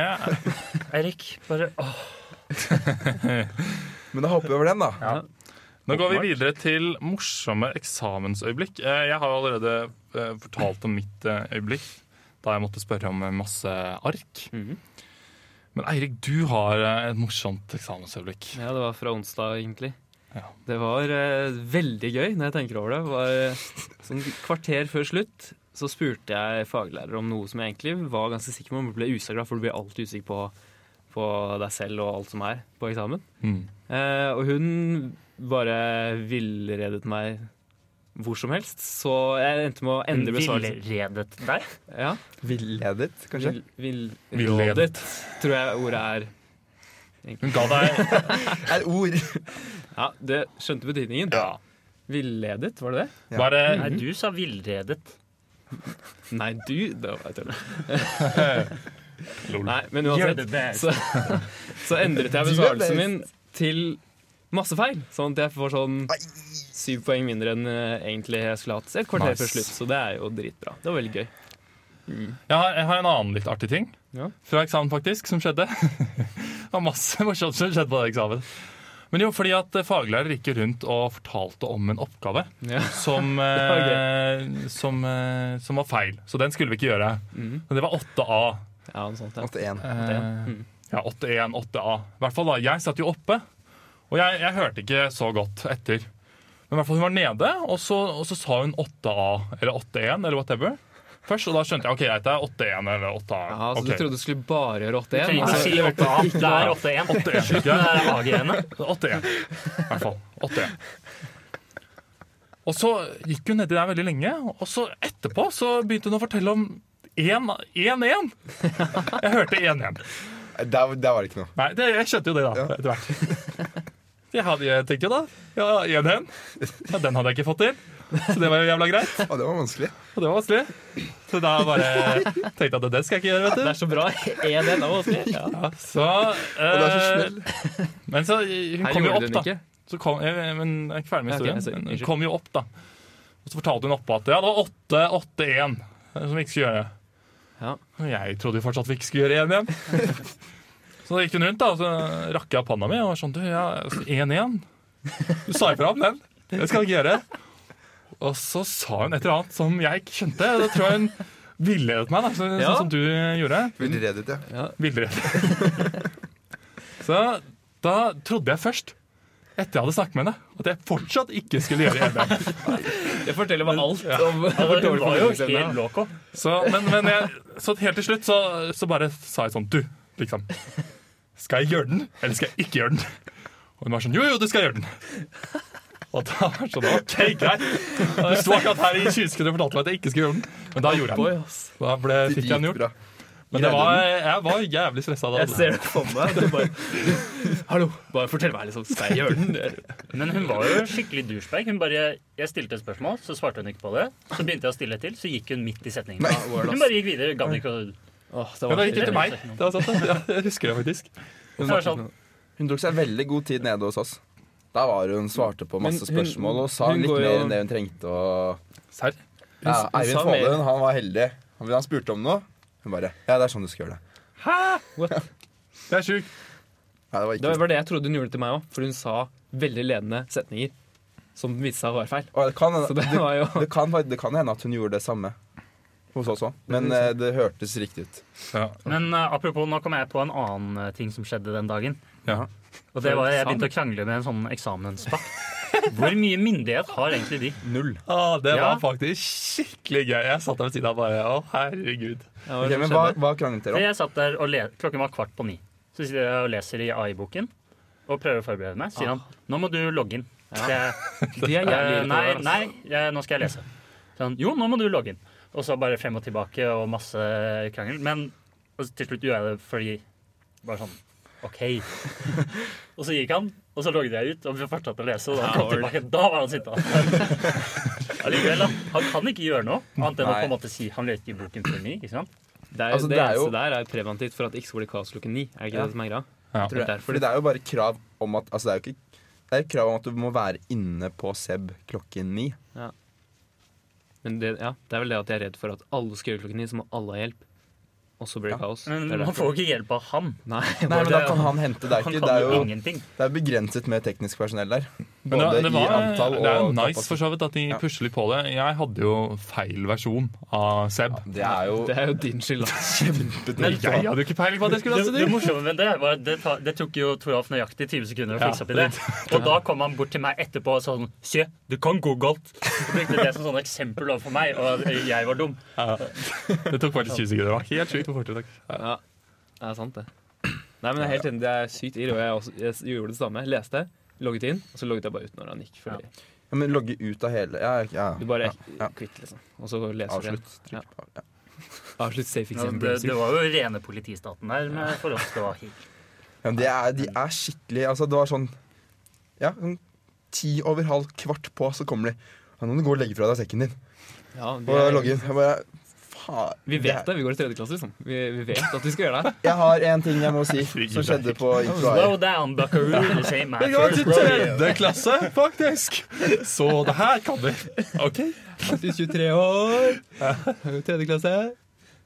Speaker 2: Eirik, bare åh,
Speaker 4: Men da hopper vi over den, da.
Speaker 2: Ja.
Speaker 1: Nå går vi
Speaker 2: Åpenbart.
Speaker 1: videre til morsomme eksamensøyeblikk. Eh, Jeg har jo allerede eh, fortalt om mitt eh, øyeblikk da jeg måtte spørre om eh, masse ark.
Speaker 3: Mhm.
Speaker 1: Men Eirik, du har eh, et morsomt eksamensøyeblikk.
Speaker 3: Ja, det var fra onsdag, egentlig.
Speaker 1: Ja.
Speaker 3: Det var eh, veldig gøy, når jeg tenker over det. det var, eh, sånn kvarter før slutt så spurte jeg faglærer om noe som jeg egentlig var ganske sikker på, men ble usikker av, for du blir alltid usikker på, på deg selv og alt som er på eksamen.
Speaker 1: Mm.
Speaker 3: Eh, og hun bare villredet meg hvor som helst, så jeg endte med å
Speaker 2: hun
Speaker 3: endre besvarelsen.
Speaker 2: villredet deg.
Speaker 3: Ja,
Speaker 4: Villedet, kanskje?
Speaker 3: vill- vill-
Speaker 1: Villedet.
Speaker 3: rådet, tror jeg ordet er.
Speaker 1: Hun ga deg
Speaker 4: Et ord.
Speaker 3: [laughs] Ja, det skjønte betydningen.
Speaker 1: ja.
Speaker 3: Villedet, var det det?
Speaker 4: Ja.
Speaker 1: Var det
Speaker 2: [laughs] Nei, du sa villredet.
Speaker 3: Nei, du Det var jeg tuller.
Speaker 1: [laughs] Lol.
Speaker 3: Nei, men uansett, så, så endret jeg besvarelsen min til masse feil. Sånn at jeg får sånn syv poeng mindre enn eh, egentlig jeg skulle hatt. Et kvarter
Speaker 1: Nice.
Speaker 3: før slutt, så det er jo dritbra. Det var veldig gøy.
Speaker 1: Jeg har, jeg har en annen litt artig ting
Speaker 3: Ja.
Speaker 1: fra eksamen faktisk, som skjedde. [laughs] det var masse morsomt som skjedde på den eksamen. Men jo, fordi at eh, faglærer gikk jo rundt og fortalte om en oppgave
Speaker 3: Ja.
Speaker 1: som,
Speaker 3: var
Speaker 1: eh, som, eh, som var feil. Så den skulle vi ikke gjøre.
Speaker 3: Mhm.
Speaker 1: Men det var 8A.
Speaker 3: Ja, noe sånt, ja.
Speaker 4: Måtte én.
Speaker 1: Eh,
Speaker 3: Mhm.
Speaker 1: ja, 8-1, 8A. I hvert fall da, Jeg satt jo oppe, og jeg, jeg hørte ikke så godt etter. Men i hvert fall hun var nede, og så, og så sa hun 8A eller 8-1 eller whatever. Først, og Da skjønte jeg ok, greit, det er 8-1 eller 8A.
Speaker 3: Ja, så
Speaker 1: Ok.
Speaker 3: Du trodde du skulle bare gjøre 8-1?
Speaker 2: Trenger ikke
Speaker 3: altså-
Speaker 2: si 8A. Det er 8-1.
Speaker 1: 8-1,
Speaker 2: Slutt med det AG-ene.
Speaker 1: 8-1. I hvert fall. 8-1. Og så gikk hun nedi der veldig lenge, og så etterpå så begynte hun å fortelle om 1-1. Jeg hørte 1-1.
Speaker 4: Der, der var det ikke noe.
Speaker 1: Nei, det, jeg skjønte jo det, da.
Speaker 4: Ja.
Speaker 1: Etter hvert. [laughs] Jeg, hadde, jeg tenkte jo da ja, 1-1. Ja, den hadde jeg ikke fått til, så det var jo jævla greit.
Speaker 4: Å, det var vanskelig.
Speaker 1: Og det var vanskelig. Så da bare tenkte jeg at det skal jeg ikke gjøre, vet du.
Speaker 3: Det er så bra. Er det altså. lov å si? [laughs] Ja.
Speaker 1: Ja, så,
Speaker 4: Og det er så
Speaker 1: eh,
Speaker 4: snill.
Speaker 1: men så eh, hun
Speaker 3: Her
Speaker 1: kom jo
Speaker 3: gjorde
Speaker 1: opp,
Speaker 3: den
Speaker 1: da.
Speaker 3: ikke.
Speaker 1: Så kom, jeg, men jeg er ikke ferdig med
Speaker 3: Ja, ok,
Speaker 1: historien.
Speaker 3: jeg ser.
Speaker 1: Men hun
Speaker 3: Unnskyld.
Speaker 1: kom jo opp, da. Og så fortalte hun oppe at ja, det var 8-8-1 eh, som vi ikke skulle gjøre.
Speaker 3: Ja.
Speaker 1: Og jeg trodde jo fortsatt vi ikke skulle gjøre 1-1.
Speaker 3: [laughs]
Speaker 1: så da gikk hun rundt, da, og så rakk jeg opp handa mi og var sånn Du, ja, altså, 1-1. Du sa ifra om den. Det skal vi ikke gjøre. Og så sa hun et eller annet som jeg ikke skjønte. Da tror jeg hun villedet meg, da, så,
Speaker 3: Ja.
Speaker 1: sånn som du gjorde.
Speaker 4: Villedet, ja.
Speaker 1: Villredd. Så da trodde jeg først, etter jeg hadde snakket med henne, at jeg fortsatt ikke skulle gjøre EBM.
Speaker 3: Det forteller meg alt om
Speaker 2: Altså,
Speaker 3: hvor
Speaker 2: hun
Speaker 3: dårlig
Speaker 2: var jo
Speaker 3: formidlingsevne jeg
Speaker 2: helt
Speaker 3: har.
Speaker 2: loco.
Speaker 1: Så, men, men jeg, så helt til slutt så, så bare sa jeg sånn, du, liksom, skal jeg gjøre den, eller skal jeg ikke gjøre den? Og hun var sånn, jo, jo, du skal gjøre den. Og da var jeg sånn, ok, greit. Du sto akkurat her i 20 sekunder og fortalte meg at jeg ikke skulle gjøre den. Men da gjorde jeg
Speaker 3: Boy,
Speaker 1: den.
Speaker 3: ass.
Speaker 1: Da ble, fikk jeg den gjort.
Speaker 4: Dritbra.
Speaker 1: Men det var, jeg var jævlig stresset da.
Speaker 3: Jeg ser det for meg. Du bare, Hallo, bare fortell meg, liksom. Skal jeg gjøre den?
Speaker 2: Men hun var jo skikkelig douchebag. Hun bare, jeg stilte et spørsmål, så svarte hun ikke på det. Så begynte jeg å stille et til, så gikk hun midt i setningen.
Speaker 4: Nei.
Speaker 2: Hun bare gikk videre. Gadd ikke å
Speaker 3: Åh, det
Speaker 1: Men
Speaker 3: var
Speaker 1: det gikk
Speaker 2: ikke
Speaker 1: etter meg. Det var sant, ja, jeg husker det faktisk.
Speaker 2: Så var det sånn,
Speaker 4: Hun tok seg veldig god tid nede hos oss. Da var hun svarte på masse
Speaker 3: Men hun-
Speaker 4: spørsmål og sa
Speaker 3: hun
Speaker 4: litt
Speaker 3: går jo-
Speaker 4: mer enn det hun trengte. Og...
Speaker 1: Serr?
Speaker 4: Ja,
Speaker 3: hun
Speaker 4: Eivind
Speaker 3: sa mer.
Speaker 4: Follund han var heldig. Han- Han spurte om noe. Hun bare Ja, det er sånn du skal gjøre det.
Speaker 1: Det er sjukt.
Speaker 4: Nei, det var
Speaker 3: Det
Speaker 4: ikke
Speaker 3: var det jeg trodde hun gjorde til meg òg, for hun sa veldig ledende setninger som viste seg å være feil.
Speaker 4: Og det kan,
Speaker 3: Så
Speaker 4: det,
Speaker 3: det var
Speaker 4: [laughs]
Speaker 3: jo
Speaker 4: det, kan, fakt- det kan hende at hun gjorde det samme hos oss òg, men eh, det hørtes riktig ut.
Speaker 2: Men eh, apropos, nå kom jeg på en annen eh, ting som skjedde den dagen.
Speaker 1: Ja.
Speaker 2: Og det var Jeg begynte å krangle med en sånn eksamenspakt. Hvor mye myndighet har egentlig de?
Speaker 4: Null.
Speaker 1: Ah, det
Speaker 2: Ja.
Speaker 1: var faktisk skikkelig gøy. Jeg satt der ved siden av bare Å, herregud.
Speaker 3: Ja, hva
Speaker 4: Ok, men hva,
Speaker 3: skjedde?
Speaker 4: hva kranglet
Speaker 2: For
Speaker 4: dere om?
Speaker 2: jeg satt der og le Klokken var kvart på ni. Så sitter jeg og leser i AI-boken og prøver å forberede meg. Sier han nå må du logge inn. Så
Speaker 3: [laughs]
Speaker 2: jeg,
Speaker 3: De Ah. er jævlig
Speaker 2: eh,
Speaker 3: irriterende, altså.
Speaker 2: nei,
Speaker 3: ass.
Speaker 2: nei, jeg, nå skal jeg lese. Så han jo, nå må du logge inn. Og så bare frem og tilbake og masse krangel. Men og til slutt gjorde jeg det fordi bare sånn OK.
Speaker 3: [laughs]
Speaker 2: Og så gikk han, og så logget jeg ut og fortsatte å lese. Og da kom han tilbake, da var han
Speaker 3: [laughs]
Speaker 2: sittende. Allikevel, da. Han kan ikke gjøre noe annet enn å på en måte si han leste i boken før ni. ikke sant?
Speaker 3: Det, er,
Speaker 4: Altså,
Speaker 3: det,
Speaker 4: det er
Speaker 3: eneste
Speaker 4: jo-
Speaker 3: der er preventivt for at det ikke skal bli kaos klokken ni. Er det ikke
Speaker 4: Ja.
Speaker 3: det som er greia?
Speaker 1: Ja.
Speaker 3: Jeg tror det er derfor
Speaker 4: Fordi det er jo bare krav om at Altså, det er jo ikke Det er et krav om at du må være inne på Seb klokken ni.
Speaker 3: Men det, ja, det er vel det at jeg er redd for at alle skal gjøre klokken ni, så må alle ha hjelp. Og så blir det
Speaker 4: Ja.
Speaker 3: kaos.
Speaker 2: Men
Speaker 3: Det er
Speaker 2: man
Speaker 3: derfor.
Speaker 2: får jo ikke hjelp av han.
Speaker 3: Nei, [laughs]
Speaker 4: Nei, men da
Speaker 2: det-
Speaker 4: kan han hente deg
Speaker 2: Han
Speaker 4: ikke.
Speaker 2: kan
Speaker 4: Det er
Speaker 2: jo
Speaker 4: jo
Speaker 2: ingenting.
Speaker 4: det er begrenset med teknisk personell der.
Speaker 1: Men
Speaker 4: Både
Speaker 1: det, det, var,
Speaker 4: i antall og
Speaker 1: det er jo nice
Speaker 4: kapasitet.
Speaker 1: for så vidt at de
Speaker 4: Ja.
Speaker 1: pusher litt på det. Jeg hadde jo feil versjon av Seb.
Speaker 4: Det er jo
Speaker 3: Det er jo din skyld, da.
Speaker 1: Men jeg hadde jo ikke peiling på at jeg skulle
Speaker 2: Det,
Speaker 1: danse
Speaker 2: det
Speaker 1: dyr!
Speaker 2: morsomme med det var at det, ta, det tok jo Toralf nøyaktig 20 sekunder å
Speaker 1: Ja,
Speaker 2: fikse opp i det. Og da kom han bort til meg etterpå og sa sånn Se, det kan gå galt. Og brukte det som sånn eksempel overfor meg, og at jeg var dum.
Speaker 1: Det tok faktisk 20 sekunder. Det var helt sjukt hvor fort det gikk.
Speaker 3: Ja, det er sant, det. Nei, men jeg er helt enig. Det er sykt irr. Og jeg, også, jeg gjorde det samme. Leste, logget inn, og så logget jeg bare ut når han gikk. Fordi
Speaker 4: ja, Men logge ut av hele Ja, ja.
Speaker 3: du bare
Speaker 4: ja, ja.
Speaker 3: kvitt, liksom. Og så leser du igjen.
Speaker 4: Avslutt. Trykk på ja.
Speaker 3: [laughs] Avslutt safe
Speaker 2: Ja,
Speaker 3: exam.
Speaker 2: det,
Speaker 3: browser.
Speaker 2: det var jo rene politistaten der, men for oss det var helt
Speaker 4: Ja, men de, er, de er skikkelig Altså, det var sånn Ja, sånn ti over halv kvart på, så kommer de. Ja, nå må du gå og legge fra deg sekken din.
Speaker 3: Ja, vi
Speaker 4: Og
Speaker 3: er-
Speaker 4: logge inn. Jeg bare Faen.
Speaker 3: Vi vet
Speaker 4: det.
Speaker 3: det. Vi går i tredje klasse, liksom. Vi, vi vet at vi skal gjøre [laughs] det.
Speaker 4: er- Jeg har en ting jeg må
Speaker 3: [laughs]
Speaker 4: si som skjedde på
Speaker 2: Slow
Speaker 4: Ikrai.
Speaker 2: down, buckaroo. Eller say my
Speaker 1: Vi går
Speaker 2: first
Speaker 1: til
Speaker 2: rodeo.
Speaker 1: tredje klasse, faktisk! Så det her kan vi. Ok.
Speaker 3: Alltid 23 år. Tredje klasse.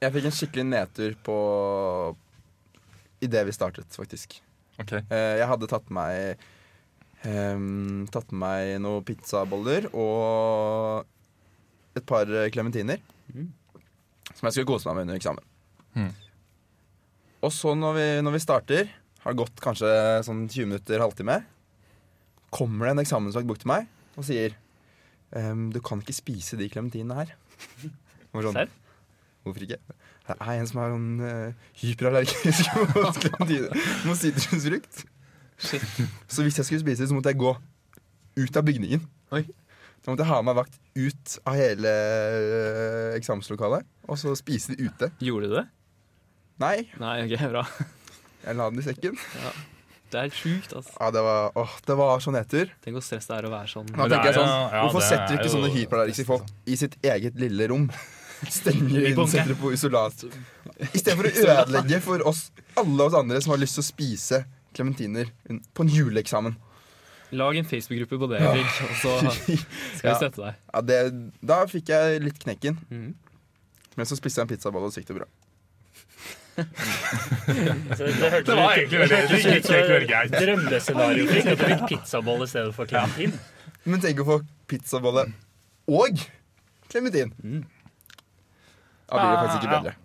Speaker 4: Jeg fikk en skikkelig nedtur på Idet vi startet, faktisk.
Speaker 1: Ok.
Speaker 4: Eh, Jeg hadde tatt med meg ehm, Tatt med meg noen pizzaboller og et par klementiner.
Speaker 3: Mhm.
Speaker 4: Som jeg skulle kose meg med under eksamen.
Speaker 1: Mhm.
Speaker 4: Og så når vi, når vi starter, har det gått kanskje sånn 20 minutter, halvtime, kommer det en eksamensvakt bort til meg og sier ehm, Du kan ikke spise de klementinene her. Og sånn,
Speaker 3: Serr?
Speaker 4: Hvorfor ikke? Det er en som er sånn eh, hyperallergisk [laughs] mot klementiner. Mot sitrusfrukt.
Speaker 3: Shit.
Speaker 4: Så hvis jeg skulle spise, så måtte jeg gå ut av bygningen.
Speaker 3: Oi.
Speaker 4: Da måtte jeg ha med meg vakt ut av hele eh, eksamenslokalet, og så spise det ute.
Speaker 3: Gjorde du det?
Speaker 4: Nei,
Speaker 3: Nei, ok, bra.
Speaker 4: jeg la den i sekken.
Speaker 3: Det er helt sjukt, altså.
Speaker 4: Ja, det var, åh, det var så nedtur.
Speaker 3: Tenk hvor stress det er å være sånn.
Speaker 4: Da
Speaker 1: Men det
Speaker 4: tenker jeg
Speaker 1: er jo-
Speaker 4: sånn,
Speaker 1: ja,
Speaker 4: Hvorfor
Speaker 1: det
Speaker 4: setter du
Speaker 1: er
Speaker 4: ikke
Speaker 1: jo-
Speaker 4: sånne hyperallergiske folk i sitt eget lille
Speaker 1: [laughs]
Speaker 4: rom? Stenger inn,
Speaker 3: bunker.
Speaker 4: setter det på isolat. Istedenfor å ødelegge for oss alle oss andre som har lyst til å spise klementiner på en juleeksamen.
Speaker 3: Lag en Facebook-gruppe på det, Erik, og [laughs] så skal vi
Speaker 4: Ja.
Speaker 3: støtte deg.
Speaker 4: Ja, det, da fikk jeg litt knekken.
Speaker 1: Mm.
Speaker 3: Mhm.
Speaker 4: Men så spiste jeg en pizzabolle, og så gikk det bra.
Speaker 2: Så Det, hørtes
Speaker 1: Det var
Speaker 2: ut-
Speaker 1: egentlig veldig- det
Speaker 2: hørtes
Speaker 1: gikk
Speaker 2: ut som
Speaker 1: egentlig veldig greit.
Speaker 2: Drømmescenario fikk at du fikk pizzaboll i stedet for klementin.
Speaker 4: Men tenk å få pizzabolle og klementin.
Speaker 1: Mm.
Speaker 4: Da blir det faktisk ikke
Speaker 1: Ja, ja.
Speaker 4: bedre.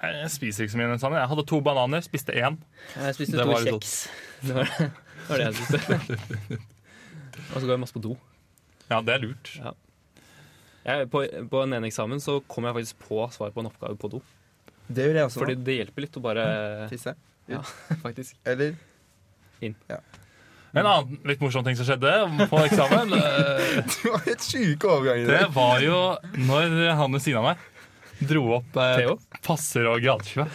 Speaker 1: Jeg spiser ikke så mye sammen. Jeg hadde to bananer, spiste én.
Speaker 3: Jeg spiste
Speaker 1: Det
Speaker 3: to
Speaker 1: var litt
Speaker 3: kjeks. [laughs] Det var det var det jeg spiste. [laughs] Og så går jeg masse på do.
Speaker 1: Ja, det er lurt.
Speaker 3: Jeg, på, på den ene eksamen så kom jeg faktisk på svar på en oppgave på do.
Speaker 4: Det gjør jeg også.
Speaker 3: Fordi det hjelper litt å bare
Speaker 4: nå. Tisse.
Speaker 3: faktisk
Speaker 4: [laughs] Eller
Speaker 1: En annen litt morsom ting som skjedde på eksamen, eh,
Speaker 4: Du har helt sjuke overganger i
Speaker 1: det
Speaker 4: dag.
Speaker 1: var jo når han ved siden av meg dro opp eh,
Speaker 3: Theo?
Speaker 1: passer og gradskive.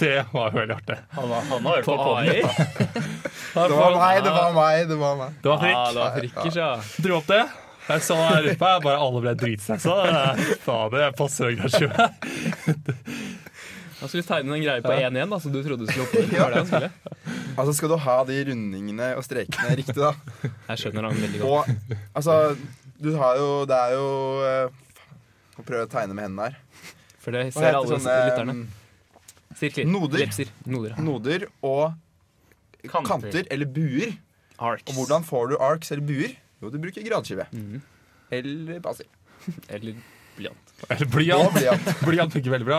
Speaker 1: Det var jo veldig artig.
Speaker 2: Han, var- han har hørt på
Speaker 3: På [laughs]
Speaker 2: podden.
Speaker 3: AI.
Speaker 4: Det var meg, det
Speaker 1: Ah.
Speaker 4: var meg, det var meg.
Speaker 1: Det var
Speaker 3: Ja,
Speaker 1: frikk.
Speaker 3: det var frikkers, ja.
Speaker 1: Dro opp det. Jeg så her rundt meg, bare alle ble dritstressa. Eh, Fader, jeg passer og gradskive.
Speaker 3: Han skulle tegne en greie på 1-1, da, som du trodde du skulle opp. [laughs] Det var det han skulle.
Speaker 4: Altså, skal du ha de rundingene og strekene riktig,
Speaker 3: [laughs]
Speaker 4: da?
Speaker 3: Jeg skjønner han veldig godt.
Speaker 4: Og altså, du har jo Det er jo eh, Må prøve å tegne med hendene her.
Speaker 3: For det
Speaker 4: Hva
Speaker 3: ser
Speaker 4: heter
Speaker 3: alle
Speaker 4: sånne
Speaker 3: lytterne.
Speaker 4: eh,
Speaker 3: Sirkler.
Speaker 4: noder?
Speaker 3: Lepser. Noder. ja.
Speaker 4: noder og
Speaker 2: Kanter.
Speaker 4: kanter eller buer?
Speaker 3: Arcs.
Speaker 4: Og hvordan får du arcs eller buer? Jo, du bruker gradskive.
Speaker 3: Mhm.
Speaker 4: Eller passer.
Speaker 3: Eller blyant.
Speaker 1: Eller
Speaker 4: Og
Speaker 1: blyant.
Speaker 4: blyant.
Speaker 1: Blyant funker veldig bra.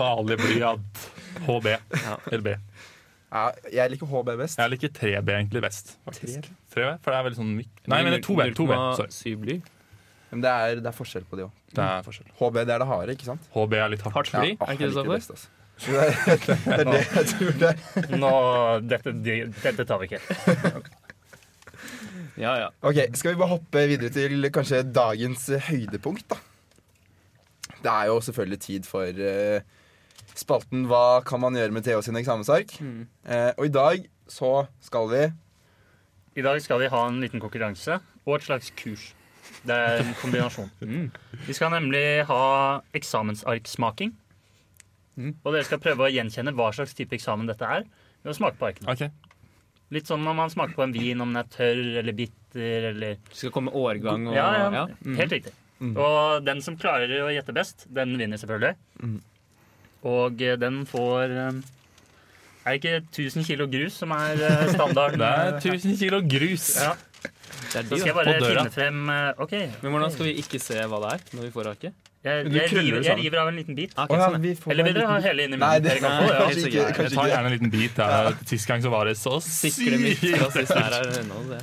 Speaker 1: Vanlig blyant. HB.
Speaker 3: Ja.
Speaker 1: Eller B.
Speaker 4: Ja, jeg liker HB best.
Speaker 1: Jeg liker 3B egentlig best. faktisk. 3B, For det er veldig sånn mykt. Nei, men 2B. 2B. Sorry.
Speaker 3: 0,7 bly.
Speaker 4: Men det er, det er forskjell på de òg.
Speaker 1: Det er forskjell.
Speaker 4: HB det er det harde, ikke sant?
Speaker 1: HB er litt hardt.
Speaker 3: Hardt bly, er ikke det
Speaker 4: jeg liker
Speaker 3: det
Speaker 4: best, altså. [laughs] Det er det er det jeg tror det er.
Speaker 2: Nå, dette, dette tar vi ikke.
Speaker 3: står for? Ja, ja.
Speaker 4: Ok, Skal vi bare hoppe videre til kanskje dagens eh, høydepunkt, da? Det er jo selvfølgelig tid for eh, spalten 'Hva kan man gjøre med Theo sine eksamensark?'
Speaker 3: Mm.
Speaker 4: Eh, og i dag så skal vi
Speaker 2: I dag skal vi ha en liten konkurranse og et slags kurs. Det er en kombinasjon.
Speaker 3: [laughs] Mm.
Speaker 2: Vi skal nemlig ha eksamensarksmaking.
Speaker 3: Mm.
Speaker 2: Og dere skal prøve å gjenkjenne hva slags type eksamen dette er ved å smake på arken.
Speaker 1: Ok,
Speaker 2: Litt sånn om man smaker på en vin, om den er tørr eller bitter eller
Speaker 3: Du skal komme årgang og
Speaker 2: Ja, ja.
Speaker 3: Mm.
Speaker 2: Helt riktig. Og den som klarer å gjette best, den vinner selvfølgelig.
Speaker 3: Mm.
Speaker 2: Og eh, den får eh, Er det ikke 1000 kilo grus som er eh,
Speaker 3: [laughs]
Speaker 2: standarden?
Speaker 1: Det er 1000 kilo grus.
Speaker 2: Ja,
Speaker 3: Det er
Speaker 2: så
Speaker 3: de,
Speaker 2: skal jeg
Speaker 3: da.
Speaker 2: bare
Speaker 1: På døra.
Speaker 2: finne frem eh, OK.
Speaker 3: Men hvordan skal vi ikke se hva det er når vi får rake?
Speaker 2: Jeg,
Speaker 4: Du
Speaker 2: jeg,
Speaker 4: krøller
Speaker 2: river,
Speaker 4: det
Speaker 2: jeg
Speaker 4: sammen.
Speaker 2: river av en liten bit.
Speaker 3: Ah, ok,
Speaker 4: Å ja,
Speaker 3: sånn, ja.
Speaker 4: vi får
Speaker 2: Eller
Speaker 4: bare
Speaker 2: vil dere ha
Speaker 4: en liten-
Speaker 2: hele inni
Speaker 4: Nei,
Speaker 2: munnen?
Speaker 4: det
Speaker 2: Dere kan få det, ja.
Speaker 4: [laughs] kanskje ikke.
Speaker 1: Jeg
Speaker 4: Kanskje
Speaker 1: tar
Speaker 4: ikke.
Speaker 1: gjerne en liten bit. Ja. Sist gang så var det så
Speaker 3: Sikler mitt
Speaker 1: sykt.
Speaker 3: fra sist her er ennå det.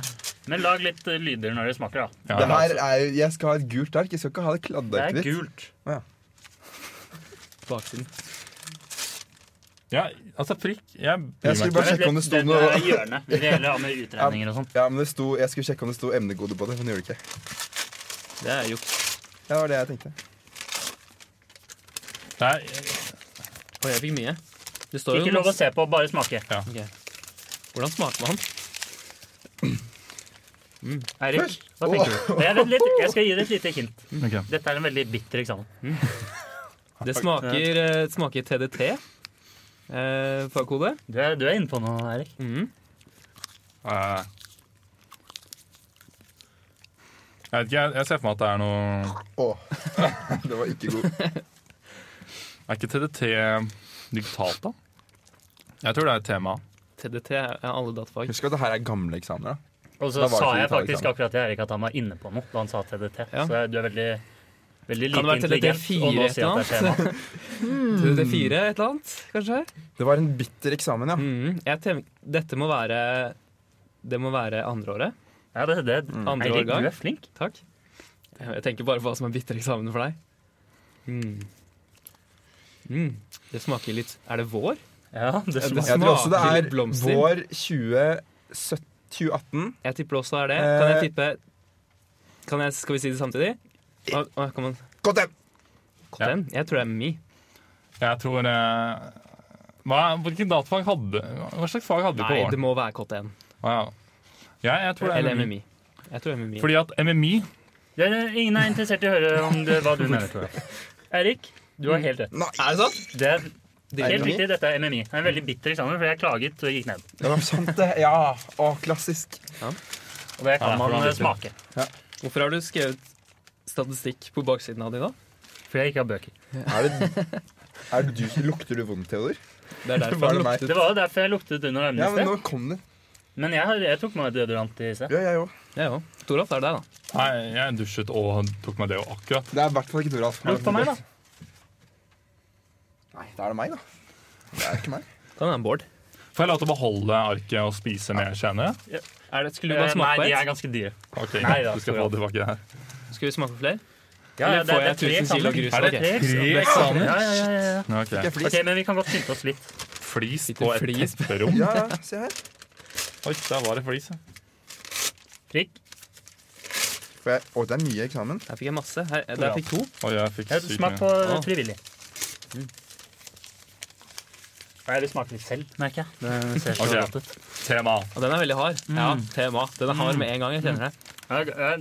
Speaker 2: Men lag litt eh, lyder når det smaker, da.
Speaker 1: Ja,
Speaker 4: Det
Speaker 1: la oss-
Speaker 4: her er jo Jeg skal ha et gult ark. Jeg skal ikke ha det
Speaker 2: Det
Speaker 4: kladdearket
Speaker 2: er
Speaker 4: ditt.
Speaker 2: gult.
Speaker 3: Baksiden.
Speaker 1: ja, altså, frikk. Jeg
Speaker 4: Jeg
Speaker 1: bryr
Speaker 4: skulle
Speaker 1: meg ikke.
Speaker 4: bare
Speaker 2: Men
Speaker 4: sjekke om det sto
Speaker 2: den-
Speaker 4: noe-
Speaker 2: den eh, er i hjørnet. Vi vil heller ha med utregninger og sånn.
Speaker 4: Ja, men det sto, Jeg skulle sjekke om det sto emnekode på det, men det gjorde det ikke.
Speaker 3: Det er juks.
Speaker 4: Ja, det var det jeg tenkte.
Speaker 1: Det er,
Speaker 3: Og jeg fikk mye. Det [laughs] står jo
Speaker 2: Ikke lov å
Speaker 3: masse-
Speaker 2: se på, bare smake.
Speaker 3: Ok. Hvordan smaker man?
Speaker 2: Eirik, hva tenker du? Jeg, vet litt, jeg skal gi deg et lite hint.
Speaker 1: ok.
Speaker 2: Dette er en veldig bitter eksamen.
Speaker 3: Det smaker, eh, det smaker TDT. Eh, fagkode.
Speaker 2: Du er, du er inne på noe, Eirik.
Speaker 3: Mhm.
Speaker 1: Eh, Jeg vet ikke, jeg, jeg ser for meg at det er noe
Speaker 4: Åh, [laughs] det var ikke god.
Speaker 1: Er ikke TDT digitalt, da? Jeg tror det er et tema.
Speaker 3: TDT er alle datafag.
Speaker 4: Husk at det her er gamle eksamener. da.
Speaker 2: Og
Speaker 4: Da
Speaker 2: så
Speaker 4: var det
Speaker 2: sa
Speaker 4: ikke
Speaker 2: jeg
Speaker 4: noe
Speaker 2: faktisk
Speaker 4: eksamen.
Speaker 2: akkurat til Eirik at han var inne på noe da han sa TDT.
Speaker 3: Ja.
Speaker 2: Så du er veldig, veldig
Speaker 3: Kan
Speaker 2: lite
Speaker 3: det være
Speaker 2: intelligent.
Speaker 3: TDT4
Speaker 2: Og nå sier jeg at det er tema.
Speaker 1: Mm.
Speaker 3: TDT4, et eller annet, kanskje?
Speaker 4: Det var en bitter eksamen, ja.
Speaker 3: Mhm. Jeg tenk, dette må være Det må være andre året.
Speaker 2: Ja, det, det,
Speaker 3: [laughs] Andre
Speaker 2: Eirik, du
Speaker 3: årgang.
Speaker 2: er flink.
Speaker 3: Takk. Jeg tenker bare på hva som er bitter eksamen for deg. Mm. Mm. Det smaker litt Er det vår?
Speaker 2: Ja, det
Speaker 3: Ja, det
Speaker 2: smaker.
Speaker 4: Jeg tror også det
Speaker 3: Smaker
Speaker 4: er
Speaker 3: litt blomster.
Speaker 4: vår 2017 2018.
Speaker 3: Jeg tipper også er det.
Speaker 4: Eh.
Speaker 3: Kan jeg tippe kan jeg, Skal vi si det samtidig? Å, å, kan man,
Speaker 4: Godt hjem!
Speaker 3: Kotten? Jeg tror det er mi.
Speaker 1: Jeg tror eh, hva, Hvilken datafag hadde Hva slags fag hadde vi på
Speaker 3: Nei, det
Speaker 1: våren?
Speaker 3: må være KTN.
Speaker 1: Å, ja. Ja, jeg tror det
Speaker 3: Eller
Speaker 1: er MMI.
Speaker 3: MMI. Jeg tror MMI.
Speaker 1: Fordi at MMI
Speaker 2: Det er, ingen er interessert i å høre om det, hva du mener, tror jeg. Eirik, du har helt rett.
Speaker 4: Nei,
Speaker 3: er det sant?
Speaker 2: Det er
Speaker 4: er
Speaker 2: helt
Speaker 4: MMI.
Speaker 2: riktig, dette er MMI. Det er en veldig bitter eksamen, for jeg klaget og gikk ned.
Speaker 4: det var sant, det. Ja. Å, klassisk.
Speaker 2: Og det
Speaker 1: Ja,
Speaker 2: kan
Speaker 1: for det
Speaker 2: man
Speaker 1: er
Speaker 2: eh, smake.
Speaker 3: Hvorfor har du skrevet statistikk på baksiden av de da?
Speaker 2: For jeg ikke har bøker.
Speaker 4: Er det, er det du, lukter du vondt, Theodor?
Speaker 3: Det er
Speaker 4: Var
Speaker 3: derfor
Speaker 4: det
Speaker 3: den
Speaker 4: meg?
Speaker 2: Det
Speaker 3: luktet
Speaker 2: var jo derfor jeg luktet under armene
Speaker 4: Ja,
Speaker 2: i
Speaker 4: men
Speaker 2: sted.
Speaker 4: nå kom det.
Speaker 2: Men jeg, har- jeg tok meg deodorant i sted.
Speaker 4: Ja, jeg òg.
Speaker 3: Ja, jo. Toralf, det er deg, da.
Speaker 1: Nei, jeg dusjet og tok meg det og akkurat.
Speaker 4: Det er i hvert fall ikke Toralf.
Speaker 2: Lukt på [laughs] meg, da.
Speaker 4: Nei, da er det meg, da. Det er ikke meg.
Speaker 3: Kan være en Bård.
Speaker 1: Får jeg lov til å beholde arket og spise mer senere?
Speaker 3: Er det, skulle du bare
Speaker 2: Eh, Nei,
Speaker 3: smake på
Speaker 2: de er
Speaker 3: et?
Speaker 2: ganske dyre.
Speaker 1: Ok,
Speaker 2: Nei da,
Speaker 1: du skal få
Speaker 2: Toralf.
Speaker 1: det tilbake det her.
Speaker 3: Skal vi smake på flere?
Speaker 2: Ja,
Speaker 3: Eller
Speaker 2: ja, det,
Speaker 3: får
Speaker 2: det er
Speaker 3: jeg
Speaker 2: tre
Speaker 3: 1000 kilo
Speaker 2: eksamen.
Speaker 3: grus?
Speaker 1: Er det
Speaker 3: Ok.
Speaker 2: Tre
Speaker 1: tre
Speaker 2: eksamen.
Speaker 1: eksamener?
Speaker 2: Ja, ja, ja, ja.
Speaker 1: Ok.
Speaker 4: Ikke flis.
Speaker 2: Ok, men vi kan godt skynde oss litt.
Speaker 1: Flis
Speaker 3: Sitter
Speaker 1: på et
Speaker 3: flis.
Speaker 1: tepperom?
Speaker 4: Ja, ja, se her.
Speaker 1: Oi, der var det flis. ja.
Speaker 2: Prikk.
Speaker 4: Får jeg- Å, det er mye eksamen.
Speaker 3: Der fikk jeg masse. Her, der fikk to.
Speaker 1: Oi, jeg fikk
Speaker 2: Ja, Mm.
Speaker 1: sykt
Speaker 2: Smak på
Speaker 1: mye.
Speaker 3: Ja.
Speaker 2: frivillig. Nei, det smaker litt selv, merker jeg. Det ser så
Speaker 1: Ok.
Speaker 2: godt ut.
Speaker 1: Tema.
Speaker 3: Og den er veldig hard. Ja, tema. Den er hard med en gang. Jeg kjenner det.
Speaker 2: Ja, ja,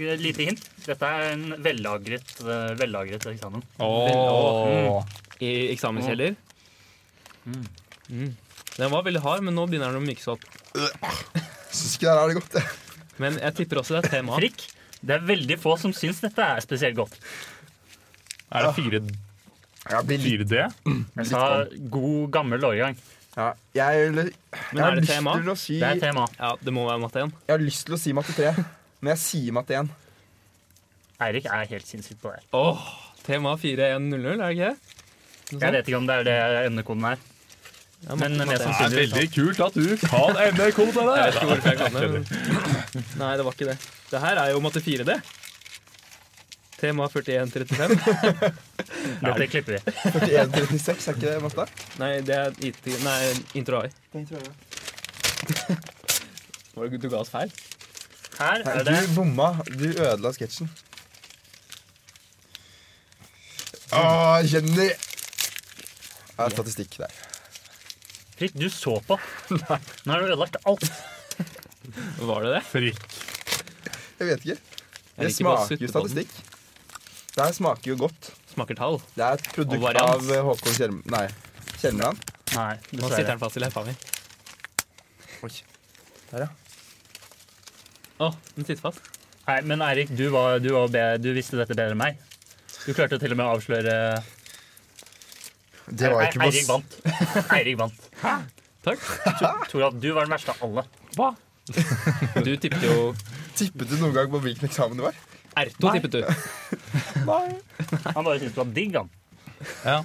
Speaker 2: Et lite hint. Dette er en vellagret, eh, vellagret eksamen.
Speaker 1: Åh.
Speaker 3: I eksamenskjeller. Mm. Den var veldig hard, men nå begynner den å mykes opp.
Speaker 4: Syns ikke det her er det godt, jeg.
Speaker 3: Men jeg tipper også det er tema.
Speaker 2: Prikk. Det er veldig få som syns dette er spesielt godt.
Speaker 1: Er det fire-
Speaker 4: Jeg blir litt
Speaker 1: 4D?
Speaker 2: Jeg sa god, gammel årgang.
Speaker 4: ja, Jeg, vil- jeg
Speaker 3: Men
Speaker 4: har
Speaker 3: er det
Speaker 4: lyst
Speaker 3: tema?
Speaker 4: til å si
Speaker 2: Det er
Speaker 4: Jeg
Speaker 2: tema.
Speaker 3: Ja, det må være matte igjen.
Speaker 4: har lyst til å si matte 3, men jeg sier matte 1.
Speaker 2: Eirik er helt sinnssyk på det.
Speaker 3: Åh, tema 4100, er det ikke det?
Speaker 2: Jeg
Speaker 3: Noe sånt?
Speaker 2: vet ikke om det er det endekoden er.
Speaker 3: Ja,
Speaker 2: men
Speaker 3: matte-
Speaker 2: mer
Speaker 3: matte-
Speaker 1: Det er veldig kult at du kan MD-kode
Speaker 3: Jeg
Speaker 1: der!
Speaker 3: vet ikke hvorfor jeg kan det. Men... Nei, det var ikke det. Det her er jo matte 4D. Tema 4135.
Speaker 2: Dette klipper vi.
Speaker 4: 41 til 36, er ikke det matte?
Speaker 3: Nei, det er IT, nei, intro AI. [laughs] Var det du ga oss feil?
Speaker 2: Her
Speaker 4: Nei,
Speaker 2: er det
Speaker 4: du bomma. Du ødela sketsjen. Å, Ah, Jenny! Ja, statistikk der.
Speaker 2: Frikk, du så på. Nå har du ødelagt alt.
Speaker 3: Var det det?
Speaker 1: Frikk.
Speaker 4: Jeg vet ikke.
Speaker 3: Jeg
Speaker 4: Det
Speaker 3: liker bare å
Speaker 4: smaker
Speaker 3: sutte
Speaker 4: jo
Speaker 3: på den.
Speaker 4: statistikk. Det her smaker jo godt.
Speaker 3: Smaker tall.
Speaker 4: Det er et
Speaker 3: Og
Speaker 4: produkt
Speaker 3: variant.
Speaker 4: av eh, Håkon Kjelm... Nei, Kjelmeland.
Speaker 2: Nei,
Speaker 3: Nå sitter
Speaker 2: dessverre.
Speaker 3: den fast i leppa mi.
Speaker 4: Der, ja.
Speaker 3: Å, den sitter fast.
Speaker 2: Nei, men Eirik, du, var, du, var be- du visste dette bedre enn meg. Du klarte til og med å avsløre
Speaker 5: Det var
Speaker 2: Nei,
Speaker 5: ikke på
Speaker 2: Eirik
Speaker 5: s-
Speaker 2: vant. Eirik vant.
Speaker 3: Takk.
Speaker 2: Toralf, du var den verste av alle.
Speaker 1: Hva?
Speaker 3: Du tippet jo
Speaker 4: Tippet du noen gang på hvilken eksamen det var?
Speaker 3: Erto, tippet du.
Speaker 4: Nei.
Speaker 2: Han bare syntes du var digg, han.
Speaker 1: Ja.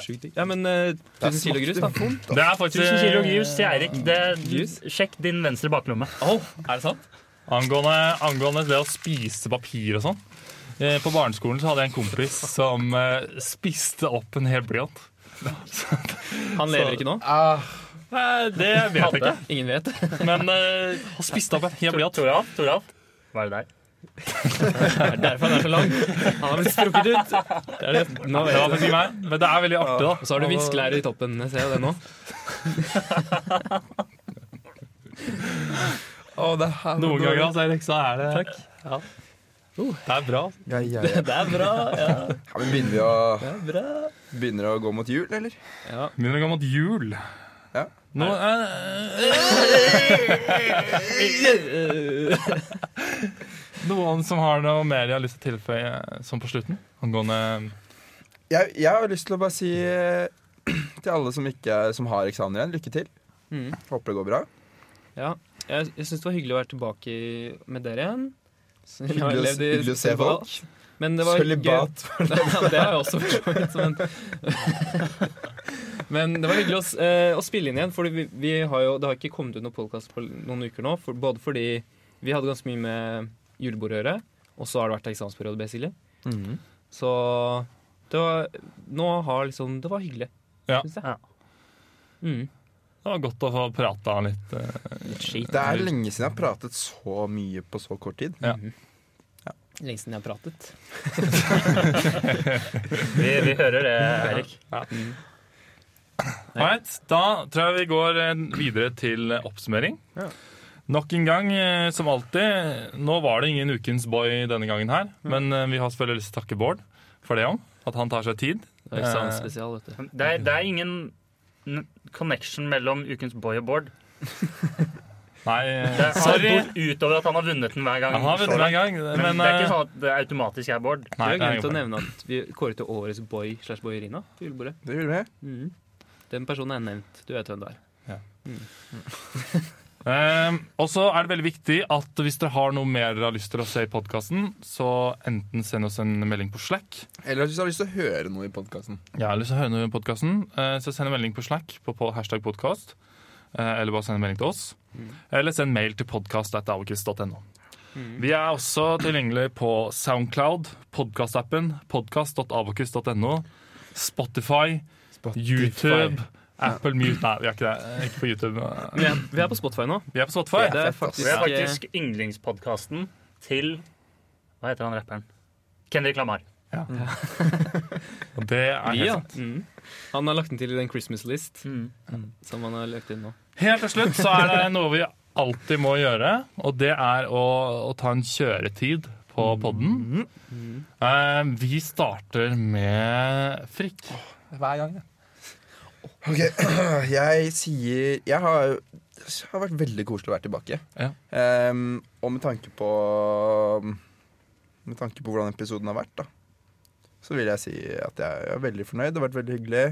Speaker 3: Sjukt digg. Ja, men eh, 1000 kilo grus, da.
Speaker 1: Det er faktisk
Speaker 2: 1000 kilo juice til Eirik. Det-
Speaker 3: Juice?
Speaker 2: Sjekk din venstre baklomme.
Speaker 3: Å, er det sant?
Speaker 1: eh, Angående, angående det å spise papir og sånn. Eh, På barneskolen så hadde jeg en kompis som eh, spiste opp en hel blyant.
Speaker 3: Han lever ikke nå.
Speaker 4: Ah,
Speaker 1: Nei, Det vet jeg ikke,
Speaker 3: Ingen vet.
Speaker 1: [laughs] men eh, han spiste opp en hel blyant.
Speaker 2: Toralf, Toralf. Var det deg?
Speaker 3: Det er derfor han er så lang. Han har blitt strukket ut. Det er det. Nå
Speaker 1: Det
Speaker 3: vet
Speaker 1: var
Speaker 3: jeg. det.
Speaker 1: faktisk ikke meg, men det er veldig artig, da.
Speaker 3: Og så har du viskelære i toppen. Jeg ser jo det nå.
Speaker 4: Å, det er her-
Speaker 1: Noen ganger altså, Erik, så er det
Speaker 3: Takk.
Speaker 1: Ja. Det er bra.
Speaker 4: Ja, ja, ja.
Speaker 3: Det er bra. Ja,
Speaker 4: [laughs] Ja, men begynner vi å,
Speaker 3: det er bra.
Speaker 4: begynner å gå mot jul, eller?
Speaker 3: Ja.
Speaker 1: Begynner å gå mot jul.
Speaker 4: Ja.
Speaker 1: Nå, eh, noen som har noe mer de har lyst til å tilføye eh, sånn på slutten? Angående
Speaker 4: Jeg, jeg har lyst til å bare si eh, [clears throat] til alle som, ikke, som har eksamen igjen, lykke til.
Speaker 3: Mm.
Speaker 4: Håper det går bra.
Speaker 3: Ja, jeg, jeg syns det var hyggelig å være tilbake i- med dere igjen. Så jeg har
Speaker 4: Hyggelig å-
Speaker 3: levd i
Speaker 4: hyggelig å se
Speaker 3: sølibat.
Speaker 4: folk.
Speaker 3: Men det var gøy.
Speaker 4: Sølibat.
Speaker 3: [laughs] Nei, det har jeg også forstått. Men,
Speaker 4: [laughs]
Speaker 3: men det var hyggelig å, s- eh, å spille inn igjen, for vi, vi har jo, det har ikke kommet ut noen podkast på noen uker nå. For, både fordi vi hadde ganske mye med julebord å gjøre, og så har det vært eksamensperiode, basically.
Speaker 4: Mm.
Speaker 3: Så det var, nå har liksom Det var hyggelig,
Speaker 1: Ja.
Speaker 3: syns jeg.
Speaker 2: Ja.
Speaker 3: Mm.
Speaker 1: Det var godt å få prata litt. eh,
Speaker 4: Det er lenge siden jeg har pratet så mye på så kort tid.
Speaker 3: Lenge siden jeg har pratet.
Speaker 2: Vi, vi hører
Speaker 1: [laughs]
Speaker 2: det, Eirik.
Speaker 3: Mm.
Speaker 1: Alright, da tror jeg vi går eh, videre til eh, oppsummering.
Speaker 3: Ja.
Speaker 1: Nok en gang, eh, som alltid. Nå var det ingen Ukens boy denne gangen her, men eh, vi har selvfølgelig lyst til å takke Bård for det òg. At han tar seg tid.
Speaker 3: Det er eksamensspesial, vet du.
Speaker 2: Det er, det er ingen n- connection mellom ukens boy og Bård.
Speaker 1: Nei, eh,
Speaker 2: Det er,
Speaker 1: sorry!
Speaker 2: har gått utover at han har vunnet den hver gang.
Speaker 1: Han har
Speaker 2: så
Speaker 1: vunnet hver
Speaker 2: langt.
Speaker 1: gang,
Speaker 2: Men,
Speaker 1: men
Speaker 2: det er ikke
Speaker 1: eh,
Speaker 2: sånn at det automatisk er Bård.
Speaker 1: nei,
Speaker 3: Vi har
Speaker 1: det er
Speaker 3: glemt å
Speaker 1: ingen
Speaker 3: nevne at vi kåret til årets boy slash boyerina på julebordet.
Speaker 4: Det gjorde vi.
Speaker 3: Mm. Den personen er nevnt. Du vet hvem det er.
Speaker 1: Eh, og så er det veldig viktig at hvis dere har noe mer dere har lyst til å se i podkasten, så enten send oss en melding på Slack.
Speaker 4: Eller hvis du har lyst til å høre noe i podkasten.
Speaker 1: Jeg har lyst til å høre noe i podcasten, eh, så send en melding på Slack på, på hashtag podkast. Eh, eller bare send en melding til oss.
Speaker 3: Mm.
Speaker 1: Eller send mail til podkast.avokist.no.
Speaker 3: Mm.
Speaker 1: Vi er også tilgjengelig på Soundcloud, podkastappen, podkast.avokist.no, Spotify, YouTube, Apple Mute Nei, vi er ikke det. Eh, Ikke på YouTube.
Speaker 3: Vi er, vi er på Spotify nå.
Speaker 1: Vi er på Spotify.
Speaker 3: Det er
Speaker 4: fett, ass.
Speaker 2: Det er
Speaker 3: faktisk,
Speaker 2: faktisk yndlingspodkasten til Hva heter han rapperen? Kendrick Lamar.
Speaker 1: Og det er
Speaker 3: eh,
Speaker 1: helt
Speaker 3: vi, ja.
Speaker 1: sant.
Speaker 3: Mm. Han har lagt den til i den Christmas list
Speaker 2: Mm.
Speaker 3: som han har lagt inn nå.
Speaker 1: Helt til slutt så er det noe vi alltid må gjøre, og det er å, å ta en kjøretid på podden. Eh, vi starter med Frikk.
Speaker 4: Hver gang, ja. Ok, [clears throat] jeg sier Jeg har, det har vært veldig koselig å være tilbake.
Speaker 1: Ja.
Speaker 4: Ehm, og med tanke på Med tanke på hvordan episoden har vært, da, så vil jeg si at jeg er veldig fornøyd. Det har vært veldig hyggelig.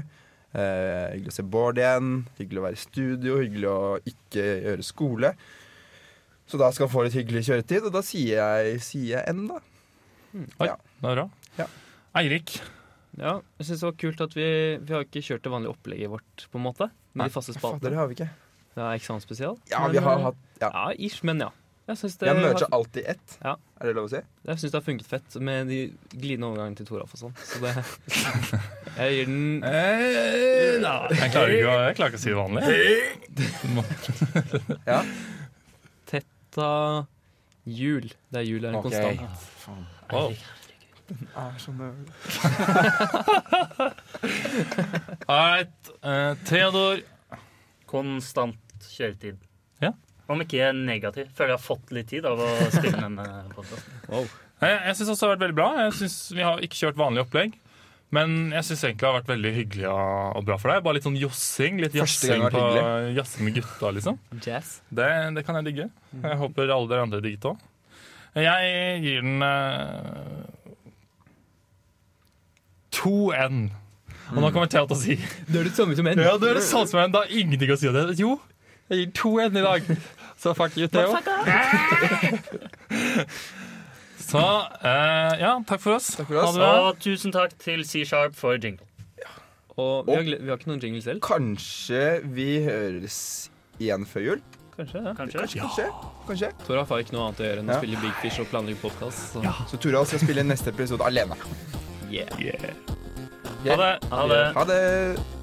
Speaker 4: Eh, hyggelig å se Bård igjen. Hyggelig å være i studio. Hyggelig å ikke gjøre skole. Så da skal han få litt hyggelig kjøretid, og da sier jeg, sier jeg N, da.
Speaker 1: Det er bra.
Speaker 4: Ja.
Speaker 1: Eirik.
Speaker 3: Ja, jeg synes det var kult at vi, vi har ikke kjørt det vanlige opplegget vårt, på en måte. Med de faste
Speaker 4: Fader, det
Speaker 3: spaltene.
Speaker 4: har vi ikke.
Speaker 3: Det er eksamensspesial.
Speaker 4: Ja,
Speaker 3: Men,
Speaker 4: vi har
Speaker 3: eh,
Speaker 4: hatt eh, ja.
Speaker 3: Ja, ish, men ja. Jeg synes det,
Speaker 4: Jeg merger
Speaker 3: har,
Speaker 4: alltid ett.
Speaker 3: Ja.
Speaker 4: Er det lov å si?
Speaker 3: jeg synes det har funket fett med de glidende overgangene til Toralf og sånn. Så det [laughs] Jeg gir den
Speaker 4: Eh,
Speaker 1: Jeg klarer ikke å, jeg klarer ikke å si det vanlig.
Speaker 4: Eh. Ja.
Speaker 3: ta jul. Det er jul, det er en
Speaker 4: Ok.
Speaker 3: konstant.
Speaker 1: Wow.
Speaker 4: Ah, sånn,
Speaker 1: All right. Eh, Theodor.
Speaker 2: Konstant kjøretid.
Speaker 1: Ja.
Speaker 2: Om ikke negativ. Føler jeg har fått litt tid av å spille denne podkasten.
Speaker 1: [laughs] Eh, jeg syns også det har vært veldig bra. Jeg synes Vi har ikke kjørt vanlig opplegg. Men jeg syns egentlig det har vært veldig hyggelig og, og bra for deg. Bare litt sånn jossing. Litt
Speaker 4: Første gang
Speaker 1: jazzing,
Speaker 4: det
Speaker 1: på,
Speaker 4: har vært
Speaker 1: jazzing med gutta, liksom.
Speaker 3: Jazz.
Speaker 1: Det, det kan jeg digge. Jeg håper alle dere andre digget òg. Jeg gir den eh, 2N. Og nå kommer Thea til å si
Speaker 3: Du er det samme som en.
Speaker 1: [laughs] Ja, du er det samme som meg, men det har ingenting å si om det. Jo, jeg gir 2-1 i dag. Så fuck you, Theo. [laughs] Så eh, ja, takk for oss.
Speaker 4: Takk for
Speaker 1: Ha
Speaker 4: oss.
Speaker 1: det bra.
Speaker 2: Og tusen takk til C-Sharp for jingle.
Speaker 3: Og vi har, gle- vi har ikke noen jingle selv.
Speaker 4: Kanskje vi høres igjen før jul?
Speaker 3: Kanskje, ja.
Speaker 2: Kanskje?
Speaker 4: Kanskje? Kanskje?
Speaker 3: Toralf har ikke noe annet å gjøre enn å
Speaker 4: Ja.
Speaker 3: spille Big Fish og planlegge podkast. Så.
Speaker 1: Ah.
Speaker 4: Så Tora skal spille neste episode alene.
Speaker 3: Yeah.
Speaker 1: Ha det.
Speaker 2: Ha det.
Speaker 4: Ha det!